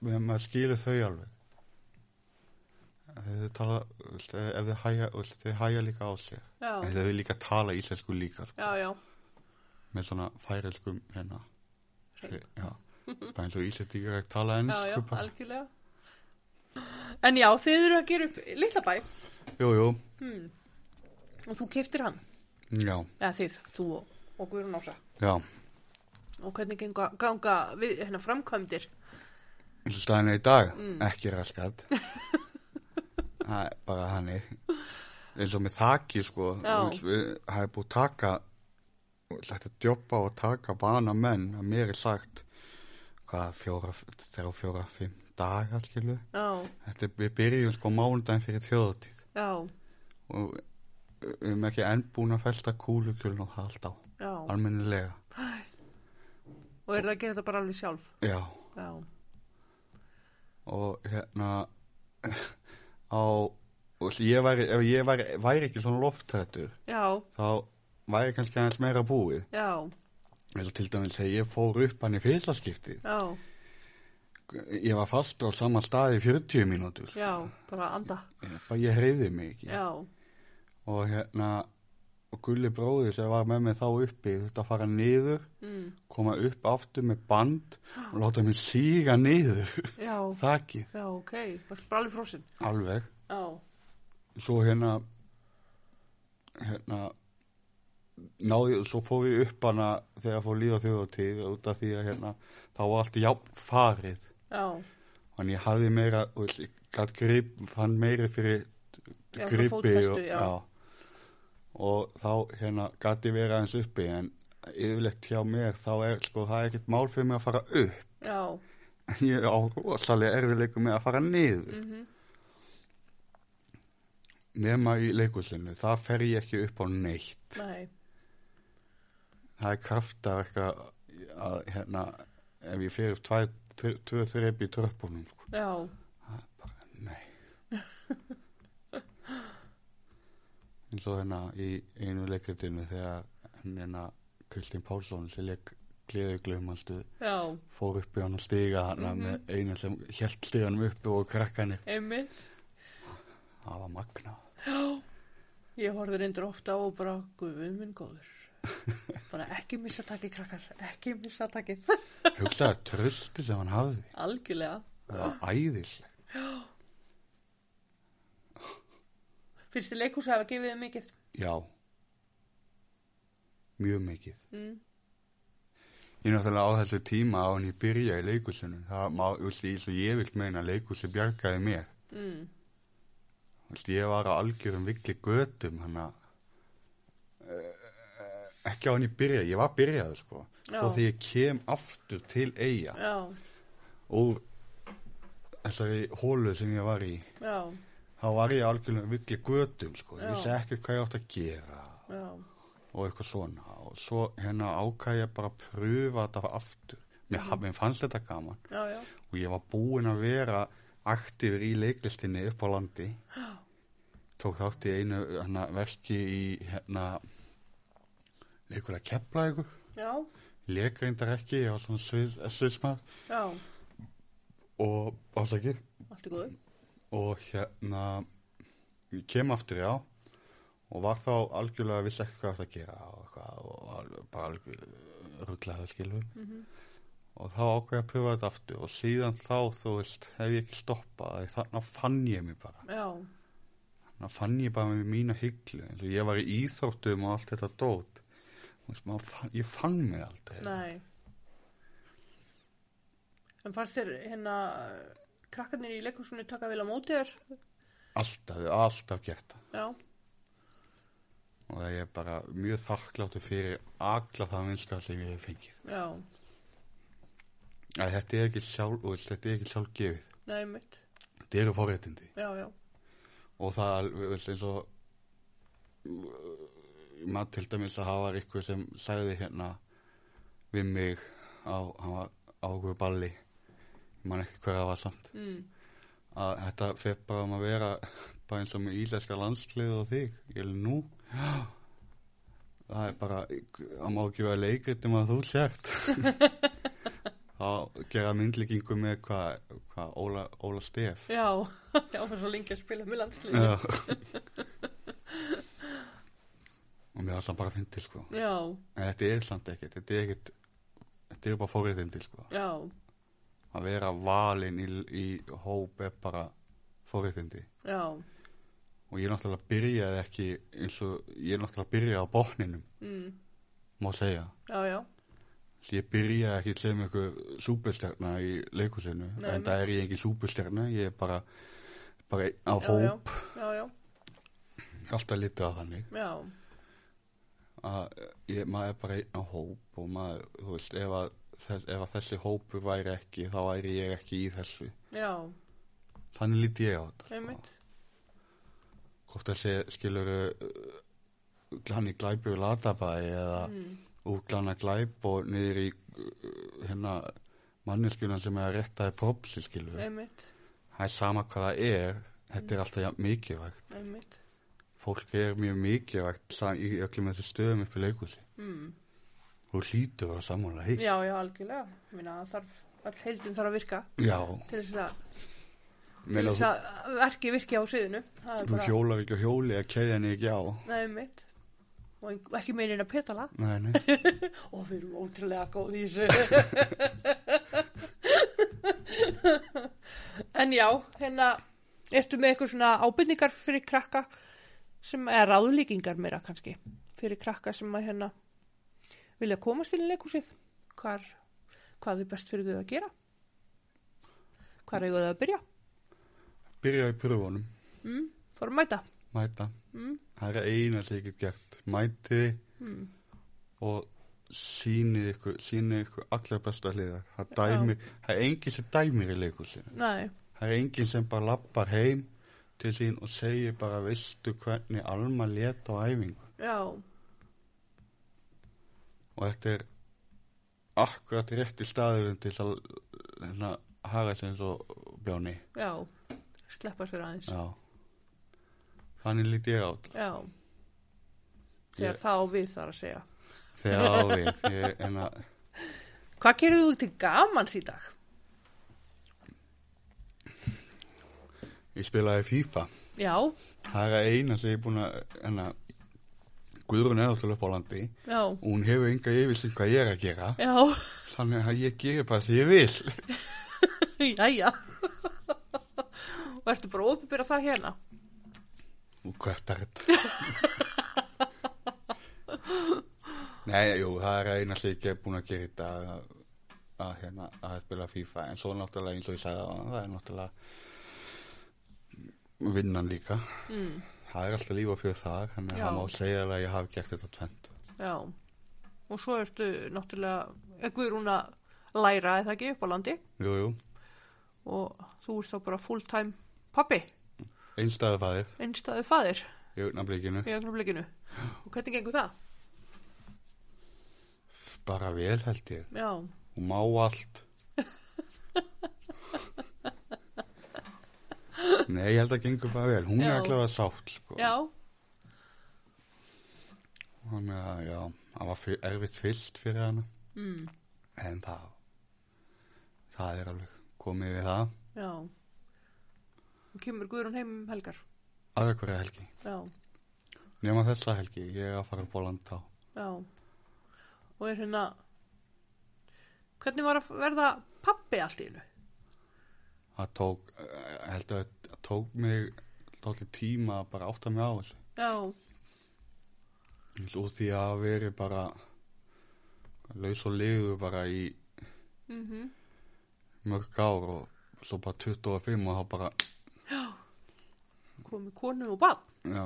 Men maður skilur þau alveg þegar þau tala þú veist, ef þau hæja, þú veist, þau hæja líka á sér já, en þau líka tala íslensku líka sko. já, já, Meðan með svona færilskum hérna, Hreim. já, bara eins og Íslendingar ekki tala já, já, ennsku bara, algjörlega. En já, þið eru að gera upp litla bæ jú, jú, og þú keftir hann, já, eða þið, þú og, og Guðrún Ása. já, Og hvernig ganga, ganga við hérna framkvæmdir? eins og staðinu í dag, Mm. ekki raskat, það er bara hannig, eins og með þaki, sko, Já. eins og við- það er búið að taka, þetta djópa og taka vana menn, að mér er sagt, hvað, fjóra, þegar fjóra, fimm dagar, skilu, Já, þetta, er- við byrjum sko mánudaginn fyrir þjóðatíð, já, og eh, við erum ekki enn búin að felta kúlukjöln og það allt á já. almennilega, Og eru það að gera þetta bara alveg sjálf? já Já, og hérna á og ég væri, ef ég væri, væri ekki svona loftrættur já, þá væri kannski aðeins meira búið já, eins og til dæmis þegar ég fór upp hann í fyrstaskipti já, ég var fastur á sama stað í 40 mínútur já, bara anda. Ég bara ég hreyði mig ekki Já, og hérna og gulli bróðir sem var með mig þá uppi þetta að fara niður mm, koma upp aftur með band og láta mig síga niður já, þakið, já, ok, varst bara alveg frósin. alveg Já, svo hérna hérna náði, svo fór ég upp hana þegar fór líða þjóðatíð út af því að hérna þá var allt jafn farið já, en ég hafði meira og ég gætt grip, fann meiri fyrir Já, svona gripi fótfestu, og, já. og þá hérna gætt ég vera aðeins uppi en yfirleitt hjá mér þá er sko það er ekkert mál fyrir mig að fara upp já, en ég á rosalega erfiðleikum með að fara niður Mhm, nema í leikusinu, það fer ég ekki upp á neitt nei, það er kraftaverk að, að hérna, ef ég fer upp tvær- tvö- tvö þreip í tröppunum sko. já, það er bara, nei eins og hérna í einu leikritinu þegar hann hérna Kristín Pálsson sem leik gleðu glumastu já, fór upp í hann og stiga hann með einu sem hjælt stiganum uppi og krakkanir einmitt. það var magnað Ég horfði reyndur ofta á og bara, guðum minn góður. Bara ekki missa takið krakkar, ekki missa takið. hugsaði trösti sem hann hafði Algjörlega. það var æðislegt Finnst þið leikhús hafa gefið þið mikið? já mjög mikið Mm. ég náttúrulega á þessu tíma á hann ég byrja í leikusinu það má, þú veist, eins og ég vil meina leikusi bjargaði mér Mm. Þú veist, ég var á algjörum villi götum hann að eh, ekki á hann ég byrja ég var byrjaður sko Já. svo þegar ég kem aftur til eiga Já, úr þessari hólu sem ég var í já, þá var ég á algjörum villi götum sko, Já. ég vissi ekkert hvað ég átt að gera já, og eitthvað svona og svo hérna ákæði ég bara að pröfa þetta aftur mér, mm mér fannst þetta gaman já, já, og ég var búinn að vera aktífur í leiklistinni upp á landi tók þátt í einu hana, verki í hérna leikur að kepla ykkur já, leikreindar ekki, ég var svona svið, sviðsmað já, og ásækir allt er góður. og hérna ég kem aftur já og var þá algjörlega vissi ekki hvað það að gera og, eitthvað, og var bara algjörlega rugglaði skilur og þá ákveði að pröfa þetta aftur og síðan þá þú veist hef ég ekki stoppað þannig að fann ég mig bara Já, þannig að fann ég bara með mína hygglu eins og ég var í íþróttum og allt þetta dót Þú veist, maður fann, ég fann mig aldrei nei. En fannst þér hérna krakkarnir í leikhúsinu taka vel á móti þér? alltaf, alltaf gert það Já, og ég er bara mjög þakkláttur fyrir alla það vinskap sem ég hef fengið já, að þetta er ekki sjálf og þetta er ekki sjálf gefið nei, mitt, þetta eru forréttindi já, já, og það er alveg, veist, eins og uh, maður til dæmis að hafa ykkur sem sagði hérna við mig á, hann var á okkur balli mann ekki hver það var samt mm, að þetta fer bara um að vera bara eins og með íslenska landslið og þig ég er nú það er bara það má ekki vera leikrit um að þú sért þá gera myndlíkingu með hvað hva, Óla, Óla Stef já, já, það var svo lengi að spila með landslið. Já. og mér var samt bara að fyndi sko. já, en þetta er samt ekkert þetta er ekkert þetta er bara forréttindi sko. já, að vera valinn í, í hóp er bara forréttindi já, og ég náttúrulega byrjaði ekki eins og ég náttúrulega byrjaði á botninum mm, má segja já, já, Því Ég byrjaði ekki sem einhver súperstjarna í leikusinu, Nei, en það er ég engin súperstjarna, ég er bara, bara einn á Já, hóp, já, já, alltaf litið á þannig, já, að ég, maður er bara einn á hóp og maður, þú veist, ef að, þess, ef að þessi hópur væri ekki, þá væri ég ekki í þessu. já, Þannig lítið ég á þetta. sko. einmitt, Hvort þessi skilur uh, hann í glæpi og latabæði eða mm. úrglana glæp og niður í uh, hérna manneskjuna sem er að rétta í propsi skilur. einmitt, það er sama hvað það er þetta er alltaf jafn mikilvægt einmitt, fólk er mjög mikilvægt sa- í öllum þessu stöðum upp í leikhúsi mm, og hlýtur að sammála hitt já, já, algjörlega, ég meina það þarf, all heildin þarf að virka já, til þess að, til meina þess þú, að verki virki á sviðinu, það er þú bara, hjólar ekki á hjóli að keðja henni ekki á Nei, einmitt, og ein- og ekki meinin að petala, nei, nei. og við erum ótrúlega góð í þessu en já hérna ertu með eitthvað svona ábyrningar fyrir krakka sem er ráðlíkingar meira kannski fyrir krakka sem að hérna vilja komast til leikúsið hvar, hvað er best fyrir þau að gera hvar eigum þau að byrja byrja í pröfunum, mm, fór að mæta mæta mm, það er eina sem ég get gert mæti mm, og sýnið ykkur, sýnið ykkur allar besta hliðar það, dæmir, það er engin sem dæmir í leikhúsinu nei, Það er enginn sem bara lappar heim til sín og segir bara veistu hvernig Alma let á æfingu já, og þetta er akkurat rétti staðurinn til að hérna, haga sér eins og bjáni já sleppa sér aðeins Já Þannig lít ég át já þegar Ég- þá við þar að segja þegar á við ég, hérna, en að, Hvað gerir þú til gamans í dag? ég spilaði FIFA Já, Það er að eina sem ég er búin að hérna, Guðrún er alltaf upp á landi já, og hún hefur enga yfirsin hvað ég er að gera já, þannig að ég gerir bara því ég vil jæja. Og ertu bara opið það hérna? Og hvert er þetta? Nei, jú, það er eina sem ég er búin að gera í dag að, að, hérna, að spila FIFA en svo náttúrulega eins og ég sagði á það er náttúrulega vinnan líka Mm, það er alltaf líf og fjör þar þannig Já. að það má segja að ég hafi gert þetta tvend já. Og svo ertu náttúrulega, eitthvað er hún að læra eða ekki upp á landi Jú, jú, og þú ert þá bara fulltime pappi, einstæðu fæðir einstæði faðir í augnablikinu, í ögnarblikinu. Og hvernig gengur það? bara vel held ég Já, hún má allt Nei, ég held að gengur bara vel hún Já. er allavega sátt sko. já, Þannig að já, það var fyr, erfitt fyrst fyrir hana mm, en það það er alveg komið við það já. Og kemur Guðrún heim um helgar. aðra hverja helgi, Já, nema þessa helgi ég er að fara upp á land á já. Og er hérna, hvernig var að verða pappi allt í hennu? það tók, eh, held að það tók mig dálítið tíma að bara átta mig á þessu Já, Ég held úr því að hafa verið bara laus og liður bara í mhm, mörg ár og svo bara 25 og þá bara komið konu og barn. já,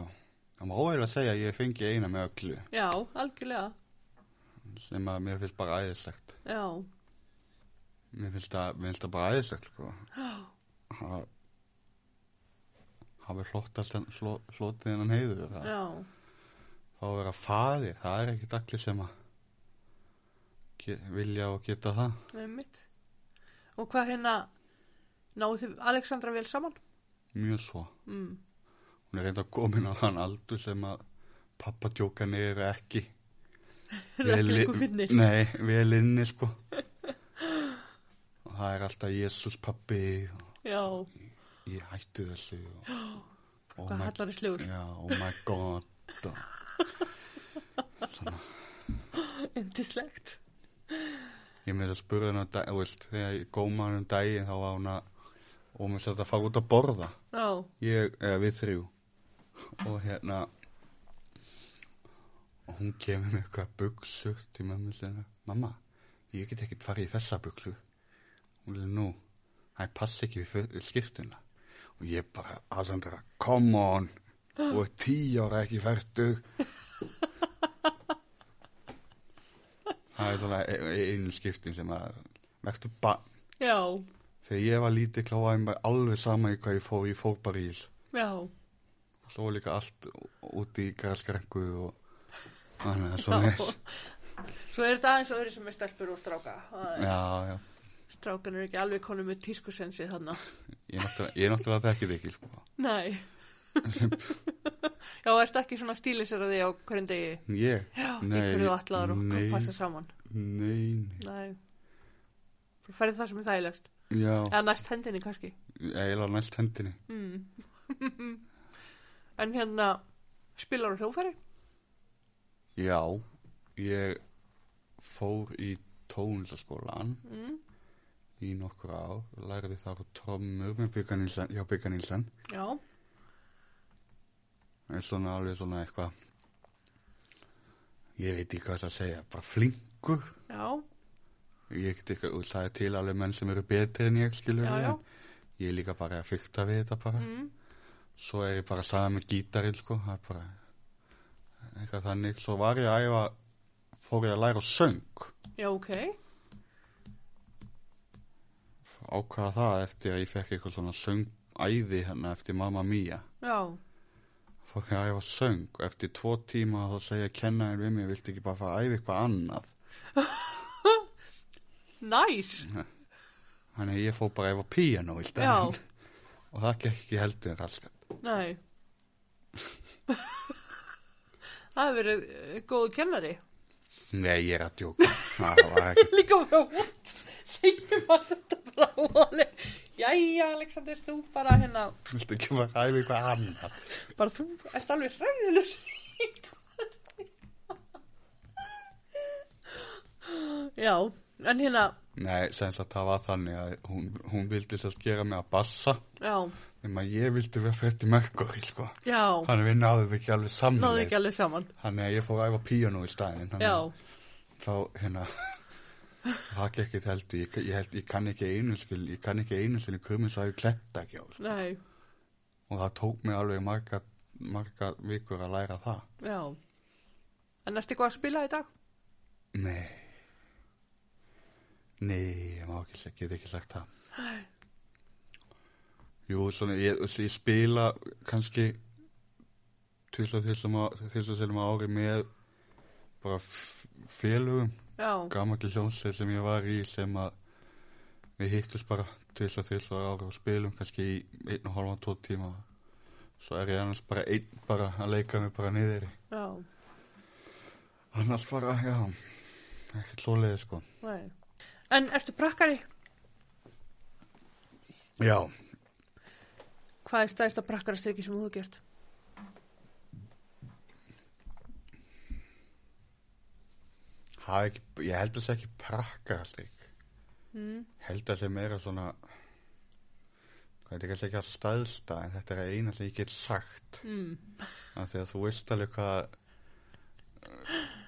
það má óhægilega segja að ég fengi eina með öllu Já, algjörlega, sem að mér finnst bara æðislegt já, Mér finnst það, mér finnst það bara aðeinslegt sko. Ha- hafi hlóttast en- hló, hlótið hennan heiður það. já, þá að vera faðir, það er ekkert allir sem að ge, vilja og geta það með mitt. Og hvað hérna, náðu þið Alexandra vel saman? mjög svo, Mm. hún er reynda komin á þann aldur sem að pappatjókan eru ekki Eru ekki vel lengur í- fyndnir. nei, vel inni sko og það er alltaf Jésús pappi og Já, ég hætti þessu og, Oh hvað hallar í slugur. Já, oh my god og Svona, Indislegt. ég með þess að spurði hennar, um þú veist, þegar ég góma hann um daginn þá var hann að, og mér sætti að fara út að borða. Já, ég, eða við þrjú og hérna og hún kemur með eitthvað buksur til mömmu sinna mamma, ég get ekkert farið í þessa buksur hún er nú það passa ekki við fyr- skiptuna og ég bara, Alessandra, come on og tí ára ekki færtur það er svona e- e- einu skiptin sem að verður bann já, þegar ég var lítið kláðaði mér alveg sama í hvað ég fór, ég fór bara í þessu já. Svo líka allt úti í græskrengu og þannig að svo já. neins. Svo er þetta aðeins öðru sem er stelpur og stráka. Það er- Já, já. Strákan er ekki alveg konum með tískusensi þarna. Ég náttúrulega, ég náttúrulega þekki þig ekki, sko. Nei. já, ertu ekki svona stílisir að því á hverjum degi? Ég? Já, Nei, nei, ykkur þú allar og nei. passa saman. Nei, nei. Nei. Þú færði það sem er þægilegst. Já, Eða næst hendinni kannski. Mm. eiginlega næst hendinni. En hérna, spilar þú hljófæri? Já, ég fór í tónlistaskólan Mm. í nokkur ár, lærði þar trommur með Bygga Nílsen, hjá Bygga Nílsen. Já. En svona alveg svona eitthvað, ég veit ekki hvað það að segja, bara flinkur. Já, ég get ekki, og það er til alveg menn sem eru betri en ég skilur já, já. ég er líka bara að fyrta við þetta bara Mm. svo er ég bara saman með gítarinn sko, það er bara eitthvað þannig, svo var ég að æfa fór ég að læra söng Já, ok. ákvaða það eftir að ég fekk eitthvað svona söngæði hérna eftir Mamma Mia Já, fór ég að æfa söng og eftir tvo tíma þá segja kennaðin við mig, viltu ekki bara fara að æfa eitthvað annað næs. þannig að ég fór bara að æfa piano í Já, staðinn. og það gekk ekki heldur en raskat nei. Það hefur verið eh, góður kennari. Nei, ég er að djóka. Það var ekki, Líka með hún, segjum að þetta bara hóli. Jæja, Alexander, þú bara hérna, viltu ekki bara ræða eitthvað annað? bara þú ert alveg hræðilur. Já, en hérna, Nei, sem sagt það var þannig að hún, hún vildi sérst gera mig að bassa já, nema ég vildi vera freddi merkori, sko. já, Þannig að við náðum ekki náðu alveg samanleik. ekki alveg saman. Þannig að ég fór að æfa píanó í staðinn. þannig Já, að Þá, hérna, það gekk ekkert heldur. Ég, ég held, ég kann ekki einu skil, ég kann ekki einu sinni krumins að ég kletta ekki á, sko. nei, Og það tók mig alveg marga, marga vikur að læra það. já. En ertu eitthvað að spila í dag? Nei. Nei, ég má ekki segja, get ekki sagt það. Jú, svona, ég, ég spila kannski tvisla þessum ári með bara f- félögum, Já, gammalki hljónsið sem ég var í sem að við hittum bara tvisla þessum ári og spilum kannski í einn og halvan tvo tíma. Svo er ég annars bara einn bara að leika mig bara niður. já, Annars bara, já, ekkert svoleiði sko. nei. En ertu prakkari? Já, Hvað er stæðsta prakkarastykki sem þú hefur gert? hafa ekki, ég held að það sé ekki prakkarastrik Mm. held að það meira svona hvað þetta er kannski ekki að staðsta en þetta er að eina sem ég get sagt Mm. af því að þú veist alveg hvað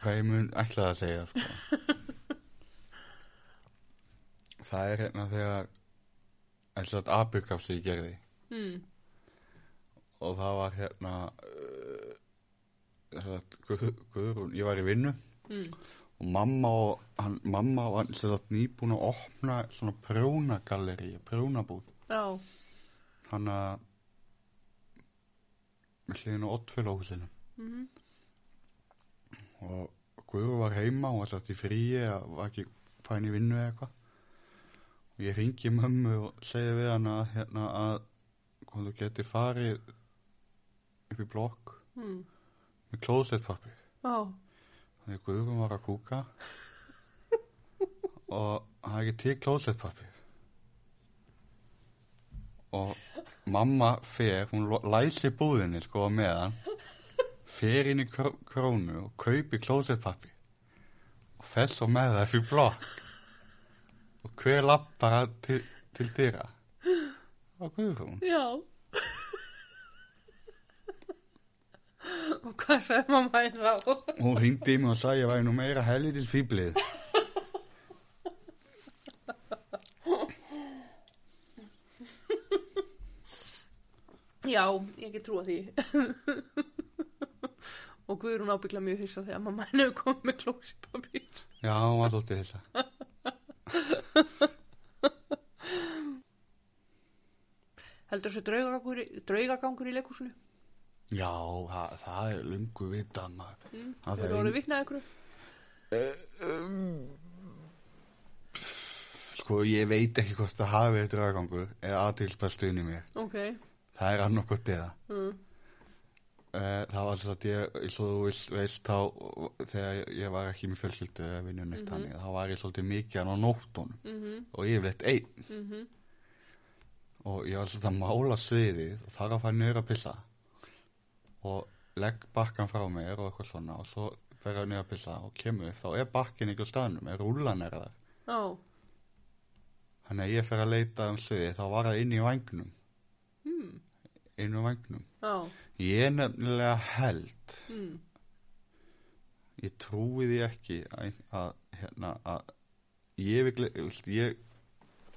hvað ég mun ætlaði að segja sko. það er hérna þegar eins og þetta aðbyggaf sem ég gerði Mm. og það var hérna eh, uh, sagt, Guð, Guðrún, ég var í vinnu Mm. og mamma og hann, mamma var sem sagt nýbúin að opna svona prjónagalleri, prjónabúð Já, hann að með hliðin á oddfélóhúsinu mm. og Guður var heima og var satt í fríi að var ekki fæn í vinnu eða eitthvað og ég ringi mömmu og segi við hann að hérna að hvað þú geti farið upp í blokk Mm. með klósettpapir já, Þannig að Guðrún var að kúka og það er ekki til klósettpappi. Og mamma fer, hún lo- læsir búðinni sko á meðan, fer inn í kró- krónu og kaupi klósetpappi og fer svo með það fyrir blokk og hver lappar að- til, til dyra og Guðrún Já. og hvað sagði mamma þín þá? hún hringdi í mig og sagði ég væri nú meira helvitis fýblið Já, ég get trúa því. og Guðrún ábyggla mjög hissa þegar mamma henni hefur komið með klósipapír. já, hún var þóttið þessa Heldur þessi draugagangur, í- draugagangur í leikúsinu? já, það, það er lungu vitað maður mm, Þau eru orðið vitnað einhverju? sko, ég veit ekki hvort það hafi eitt draugagangur eða aðtilpastuðin í mér Ok. það er annarkot eða Mm. Eh, Það var alltaf að ég, eins og þú veist- veist þá, þegar ég var ekki með fjölskyldu eða vinnun eitt þannig, þá var ég svolítið mikið hann á nóttunum Mhm. og yfirleitt einn Mhm. og ég var svolítið að mála sviðið og þar að fara nöður að pissa og legg bakkan frá mér og eitthvað svona og svo fer að nöður að pissa og kemur upp, þá er bakkin ekki á staðnum, er rúlan er þar. Já. Þannig að ég fer að leita um sviðið, þá var það inn í vangnum, Mm. inn í vangnum. Já. Ég nefnilega held Mm. ég trúi því ekki að, að hérna að ég vil, ég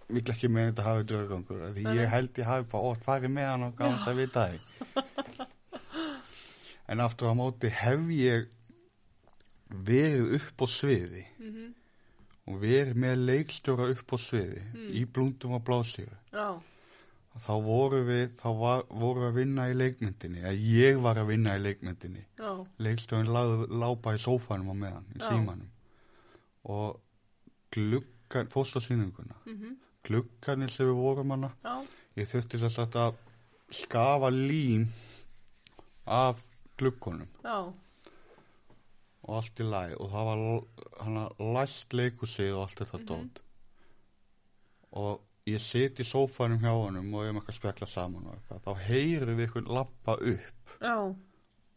vil ekki með þetta hafi draugangur af því Nei, nei. ég held ég hafi bara ótt farið með hann og gans að vita því en aftur á móti hef ég verið upp á sviði Mhm. og verið með leikstjóra upp á sviði Hmm. í blúndum og blásýru Já. þá voru við þá var, voru við að vinna í leikmyndinni eða ég var að vinna í leikmyndinni Já. leikstjóðin lág, lápa í sófanum á meðan, í Já. símanum og gluggan fórst á sýninguna, Mhm. glugganir sem við vorum hana, Já. ég þurfti þess að þetta skafa lím af gluggunum Já. og allt í lagi og það var hana læst leikusið og allt þetta mm dót og ég sit í sófanum hjá honum og ég með eitthvað spekla saman og eitthvað, þá heyrir við eitthvað lappa upp Já.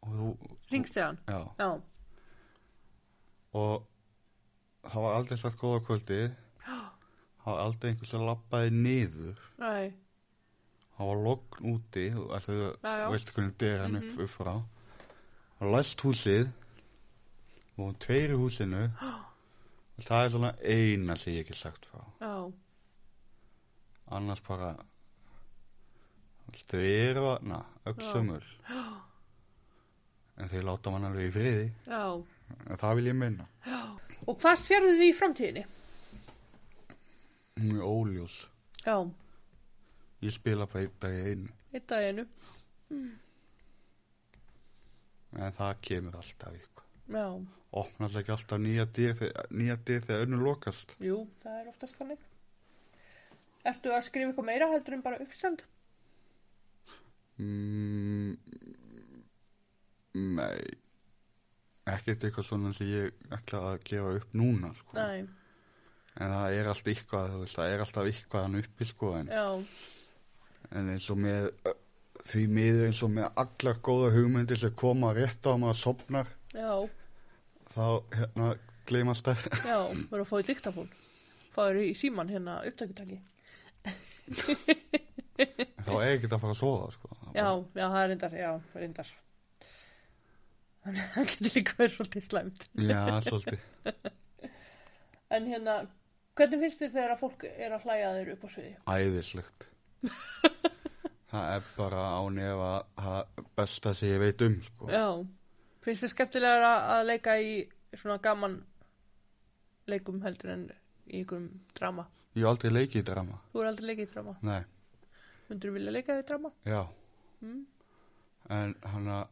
og þú, Ringst ég hann? já Já. og það var aldrei sagt góða kvöldið það var aldrei einhvers að labbaði niður Nei. það var logn úti þú- ætli þú Já, Mhm. já. veist hvernig dyr hann upp, upp frá það var læst húsið og hún tveir í húsinu og það er svona eina sem ég ekki sagt frá Já. annars bara þau eru þarna öksumul en þau láta mann alveg í friði Já. en það vil ég minna Og hvað sérðu þið í framtíðinni? hún er óljós Já, ég spila bara einn dag í einu einn dag í einu. en það kemur alltaf ykkur Já, opnast ekki alltaf nýja dyr þeg- nýja dyr þegar önnu lokast jú, það er oftast þannig. Ertu að skrifa eitthvað meira heldur en bara uppsend? mm, nei ekkert eitthvað svona sem ég ætla að gefa upp núna sko. Nei, en það er alltaf eitthvað þú veist, það er alltaf eitthvað hann uppi sko, en, já, en eins og með ö, því miður eins og með allar góða hugmyndir sem koma rétt á að maður sopnar já, þá hérna gleymast það já, verður að fá í diktafón. Fáður í síman hérna upptökutaki. þá er ekkert að fara að sofa sko. Já, já, það er reyndar, já, það er reyndar. Þannig að það getur líka verið svolítið slæmt. já, svolítið En hérna, hvernig finnst þér þegar að fólk er að hlæja að þér upp á sviði? Æðislegt Það er bara án efa það besta sem ég veit um sko. Já, finnst þér skemmtilega að leika í svona gaman leikum heldur en í einhverjum drama? Ég hef aldrei leikið í drama Þú er aldrei leikið í drama. Nei, Myndur þú vilja leika í drama? já Mm. En hann að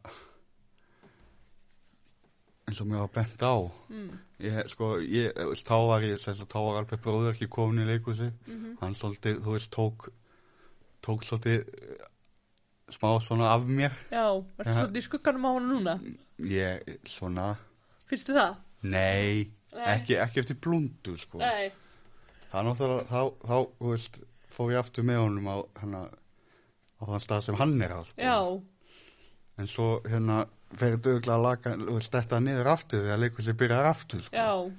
eins og mér var bent á Mm. ég, sko, ég, þú veist, þá var ég þess að þá var alveg bróður ekki komin í leikhúsi Mhm. hann svolítið, þú veist, tók tók svolítið eh, smá svona af mér Já, ertu Ja. svolítið í skugganum á hana núna? ég, svona, Finnst þið það? nei, Nei. Ekki, ekki eftir blundu sko. Nei. Það náttúrulega, þá, þá, þú veist, fór ég aftur með honum á, hana, á þann stað sem hann er á, sko. Já, En svo, hérna, fer dögulega að laga, þú veist, þetta niður aftur þegar leikhúsi byrjar aftur sko. já,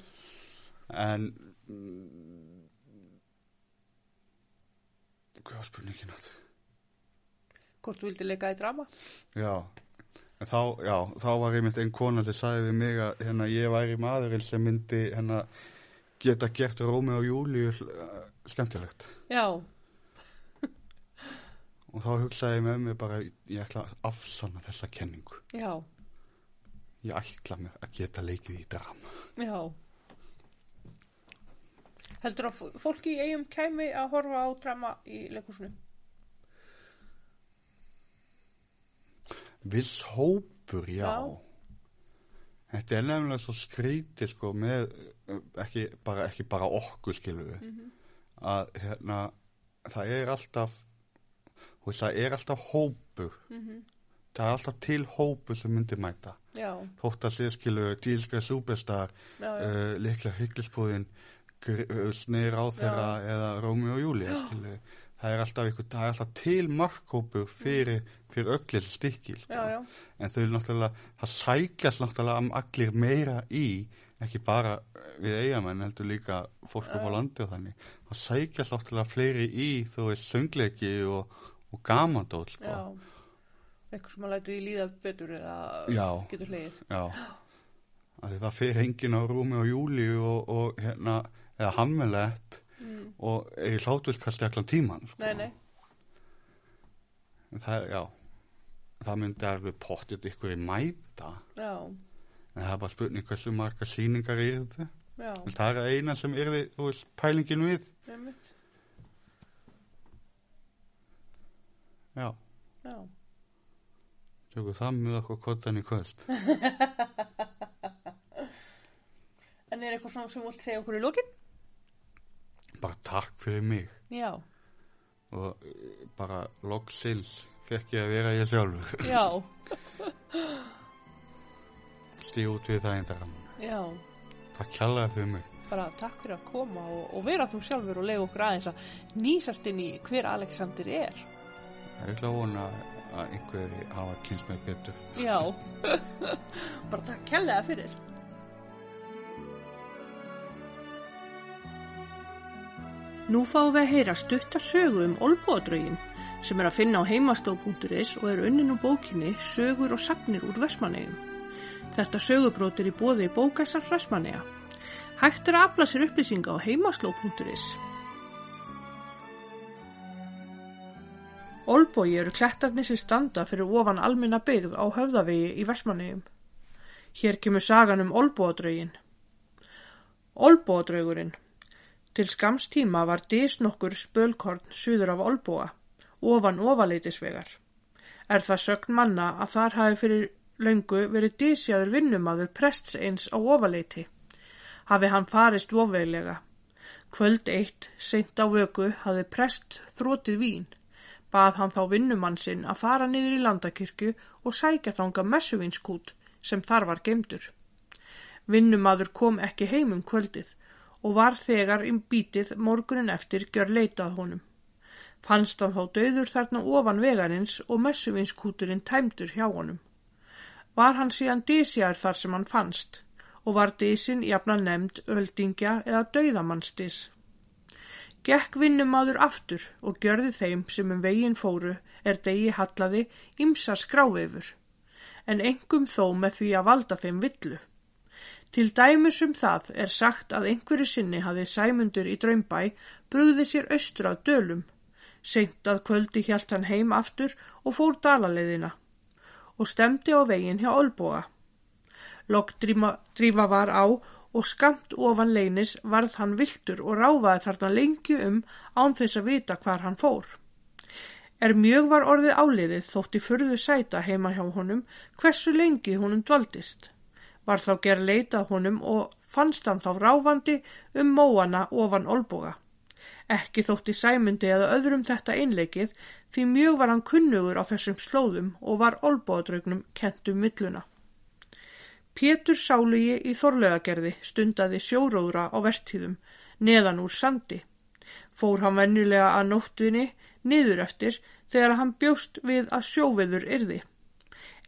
en mm, hvað var spurningin að hvort þú vildi leika í drama já En þá, já, þá var einmitt einn kona sem sagði við mig að hérna, ég væri maðurinn sem myndi hérna, geta gert Rómi og Júlíu eh, skemmtilegt já, og þá hugsaði ég með mig bara ég ætla að afsanna þessa kenningu já, ég ætla mér að geta leikið í drama já heldur að f- fólki í eigum kæmi að horfa á drama í leikúsinu viss hópur, já, Já. þetta er nefnilega svo skrítið sko með eh, ekki bara, ekki bara okkur skilur við Mhm. að hérna það er alltaf þú veist, það er alltaf hópur Mhm. það er alltaf til hópur sem myndi mæta já, þótt að sé skilur dílska súbestar já, já, uh, líkla hygglisbúðin snið ráðherra eða Rómi og Júli það er alltaf, ykkur, það er alltaf til markhópur fyrir, fyrir öllir stikki sko. já, já, en þau eru náttúrulega það sækjast náttúrulega um allir meira í ekki bara við eigamenn heldur líka fólk upp á Já. landi og þannig það sækjast náttúrulega fleiri í þú veist söngleiki og, og gamandól sko. já. eitthvað sem að lætu því líða betur eða Já. getur hlegið Já, af því það fer enginn á rúmi og júli og, og hérna, eða hammelett Mm. og er í hlátuðkasti allan tíman. Sko. nei, nei, Það, er- já, það myndi alveg pottið ykkur í mæta, já, en það er bara spurning hversu marga sýningar eru þið. já Það er eina sem eru þið, þú veist, pælingin við. einmitt, Já, já, tökum það með okkur kottan í kvöld. en er eitthvað svona sem þú vilt segja okkur í lokin? Bara takk fyrir mig já, og eh, bara loksins fekk ég að vera ég sjálfur. já, Stíð út við það einn dagann. já Takk kjallaði fyrir mig. bara takk fyrir að koma og, og vera þú sjálfur og lega okkur aðeins að nýsast inn í hver Alexander er Ég ætla að vona að einhverju hafa kynst mig betur. já bara takk kærlega fyrir Nú fáum við að heyra stutta sögu um Olboðadraugin sem er að finna á heimastof.is og er unnin úr bókinni Sögur og sagnir úr Vestmanneigum. Þetta sögubrót er í bóði bókastar Vestmanneiga. Hægt er að afla sér upplýsinga á heimasló.is. Olbói eru klettarnir sem standa fyrir ofan almenna byggð á höfðavegi í Vestmanneigum. Hér kemur sagan um Olbóadraugin. Olbóadraugurinn Til skams tíma var disnokkur spölkorn suður af Olbóa, ofan ofaleitisvegar. Er það sögn manna að þar hafi fyrir löngu verið disjaður vinnumadur prests eins á ofaleiti. Hafi hann farist vofveglega. Kvöld eitt, seint á vöku, hafi prest þrótið vín. Bað hann þá vinnumann sinn að fara niður í landakirkju og sækja þanga messuvinskút sem þar var gemdur. Vinnumadur kom ekki heim um kvöldið og var þegar um bítið morgunin eftir gjör leitað honum. Fannst hann þá döður þarna ofan vegarins og messuvinskúturinn tæmdur hjá honum. Var hann síðan dísjar þar sem hann fannst og var dísin jafnan nefnd öldingja eða döðamannsdís. Gekk vinnumadur aftur og gjörði þeim sem um veginn fóru er degi hallaði ymsa skráveifur, en engum þó með því að valda þeim villu. Til dæmis um það er sagt að einhverju sinni hafi Sæmundur í draumbæ brugði sér austur að dölum. Seint að kvöldi hjælt hann heim aftur og fór dalaleðina og stemdi á veginn hjá Olboga. Lokk dríma- drífa var á og skamt ofan leinis varð hann viltur og ráfaði þarna lengi um án þess að vita hvar hann fór. Er mjög var orðið áliðið þótti furðu sæta heima hjá honum hversu lengi honum dvaldist. Var þá gerð leitað honum og fannst hann þá ráfandi um móana ofan olboga. Ekki þótti sæmundi eða öðrum þetta einleikið því mjög var hann kunnugur á þessum slóðum og var olbogadraugnum kent um milluna. Pétur Sálugi í Þorlaugagerði stundaði sjóróðra á vertíðum neðan úr sandi. Fór hann venjulega að nóttunni niður eftir þegar hann bjóst við að sjóveður yrði.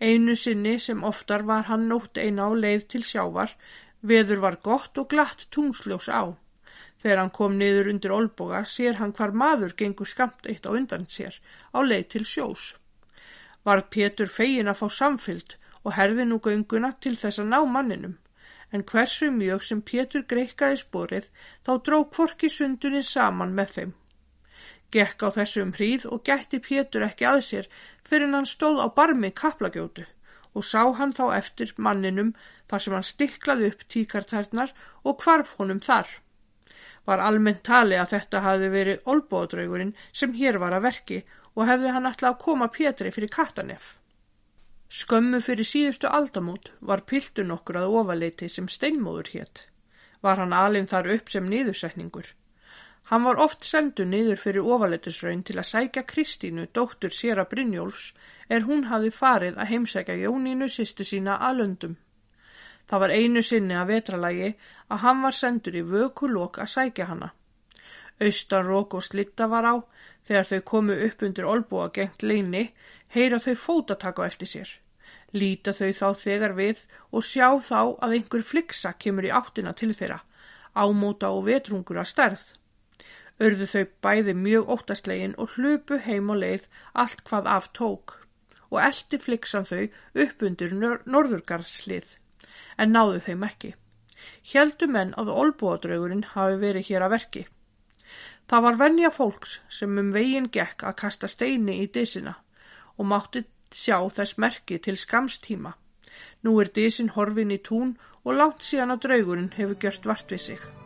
Einu sinni sem oftar var hann nótt eina á leið til sjávar, veður var gott og glatt tungsljós á. Þegar hann kom niður undir olboga sér hann hvar maður gengur skamt eitt á undan sér á leið til sjós. Varð Pétur fegin að fá samfylgd og herði nú gönguna til þess að ná manninum. En hversu mjög sem Pétur greikkaði sporið þá dró kvorki sundunni saman með þeim. Gekk á þessum hríð og gætti Pétur ekki að sér fyrir en hann stóð á barmi kaplagjótu og sá hann þá eftir manninum þar sem hann stiklaði upp tíkartarnar og hvarf honum þar. Var almennt tali að þetta hafi verið olbóðdraugurinn sem hér var að verki og hefði hann alltaf að koma Pétri fyrir Katanef. Skömmu fyrir síðustu aldamót var piltur nokkur að ofaleiti sem steinmóður hétt. Var hann alinn þar upp sem niðursetningur. Hann var oft sendur niður fyrir ofaleitisraun til að sækja Kristínu, dóttur Sera Brynjólfs, er hún hafi farið að heimsækja Jónínu sýstu sína að löndum. Það var einu sinni að vetralagi að hann var sendur í vökulok að sækja hana. Austan rók og slitta var á, þegar þau komu upp undir olbúa gengt leini, heyra þau fótataka á eftir sér. Líta þau þá þegar við og sjá þá að einhver fliksa kemur í áttina til þeirra, ámóta og vetrungur að stærð. Örðu þau bæði mjög óttastlegin og hlupu heim og leið allt hvað af tók og eldi fliksan þau upp undir nor norðurgarðslið en náðu þeim ekki. Hjeldu menn að olbúadraugurinn hafi verið hér að verki. Það var venja fólks sem um veginn gekk að kasta steini í disina og mátti sjá þess merki til skamstíma. Nú er disin horfin í tún og langt síðan að draugurinn hefur gjört vart við sig.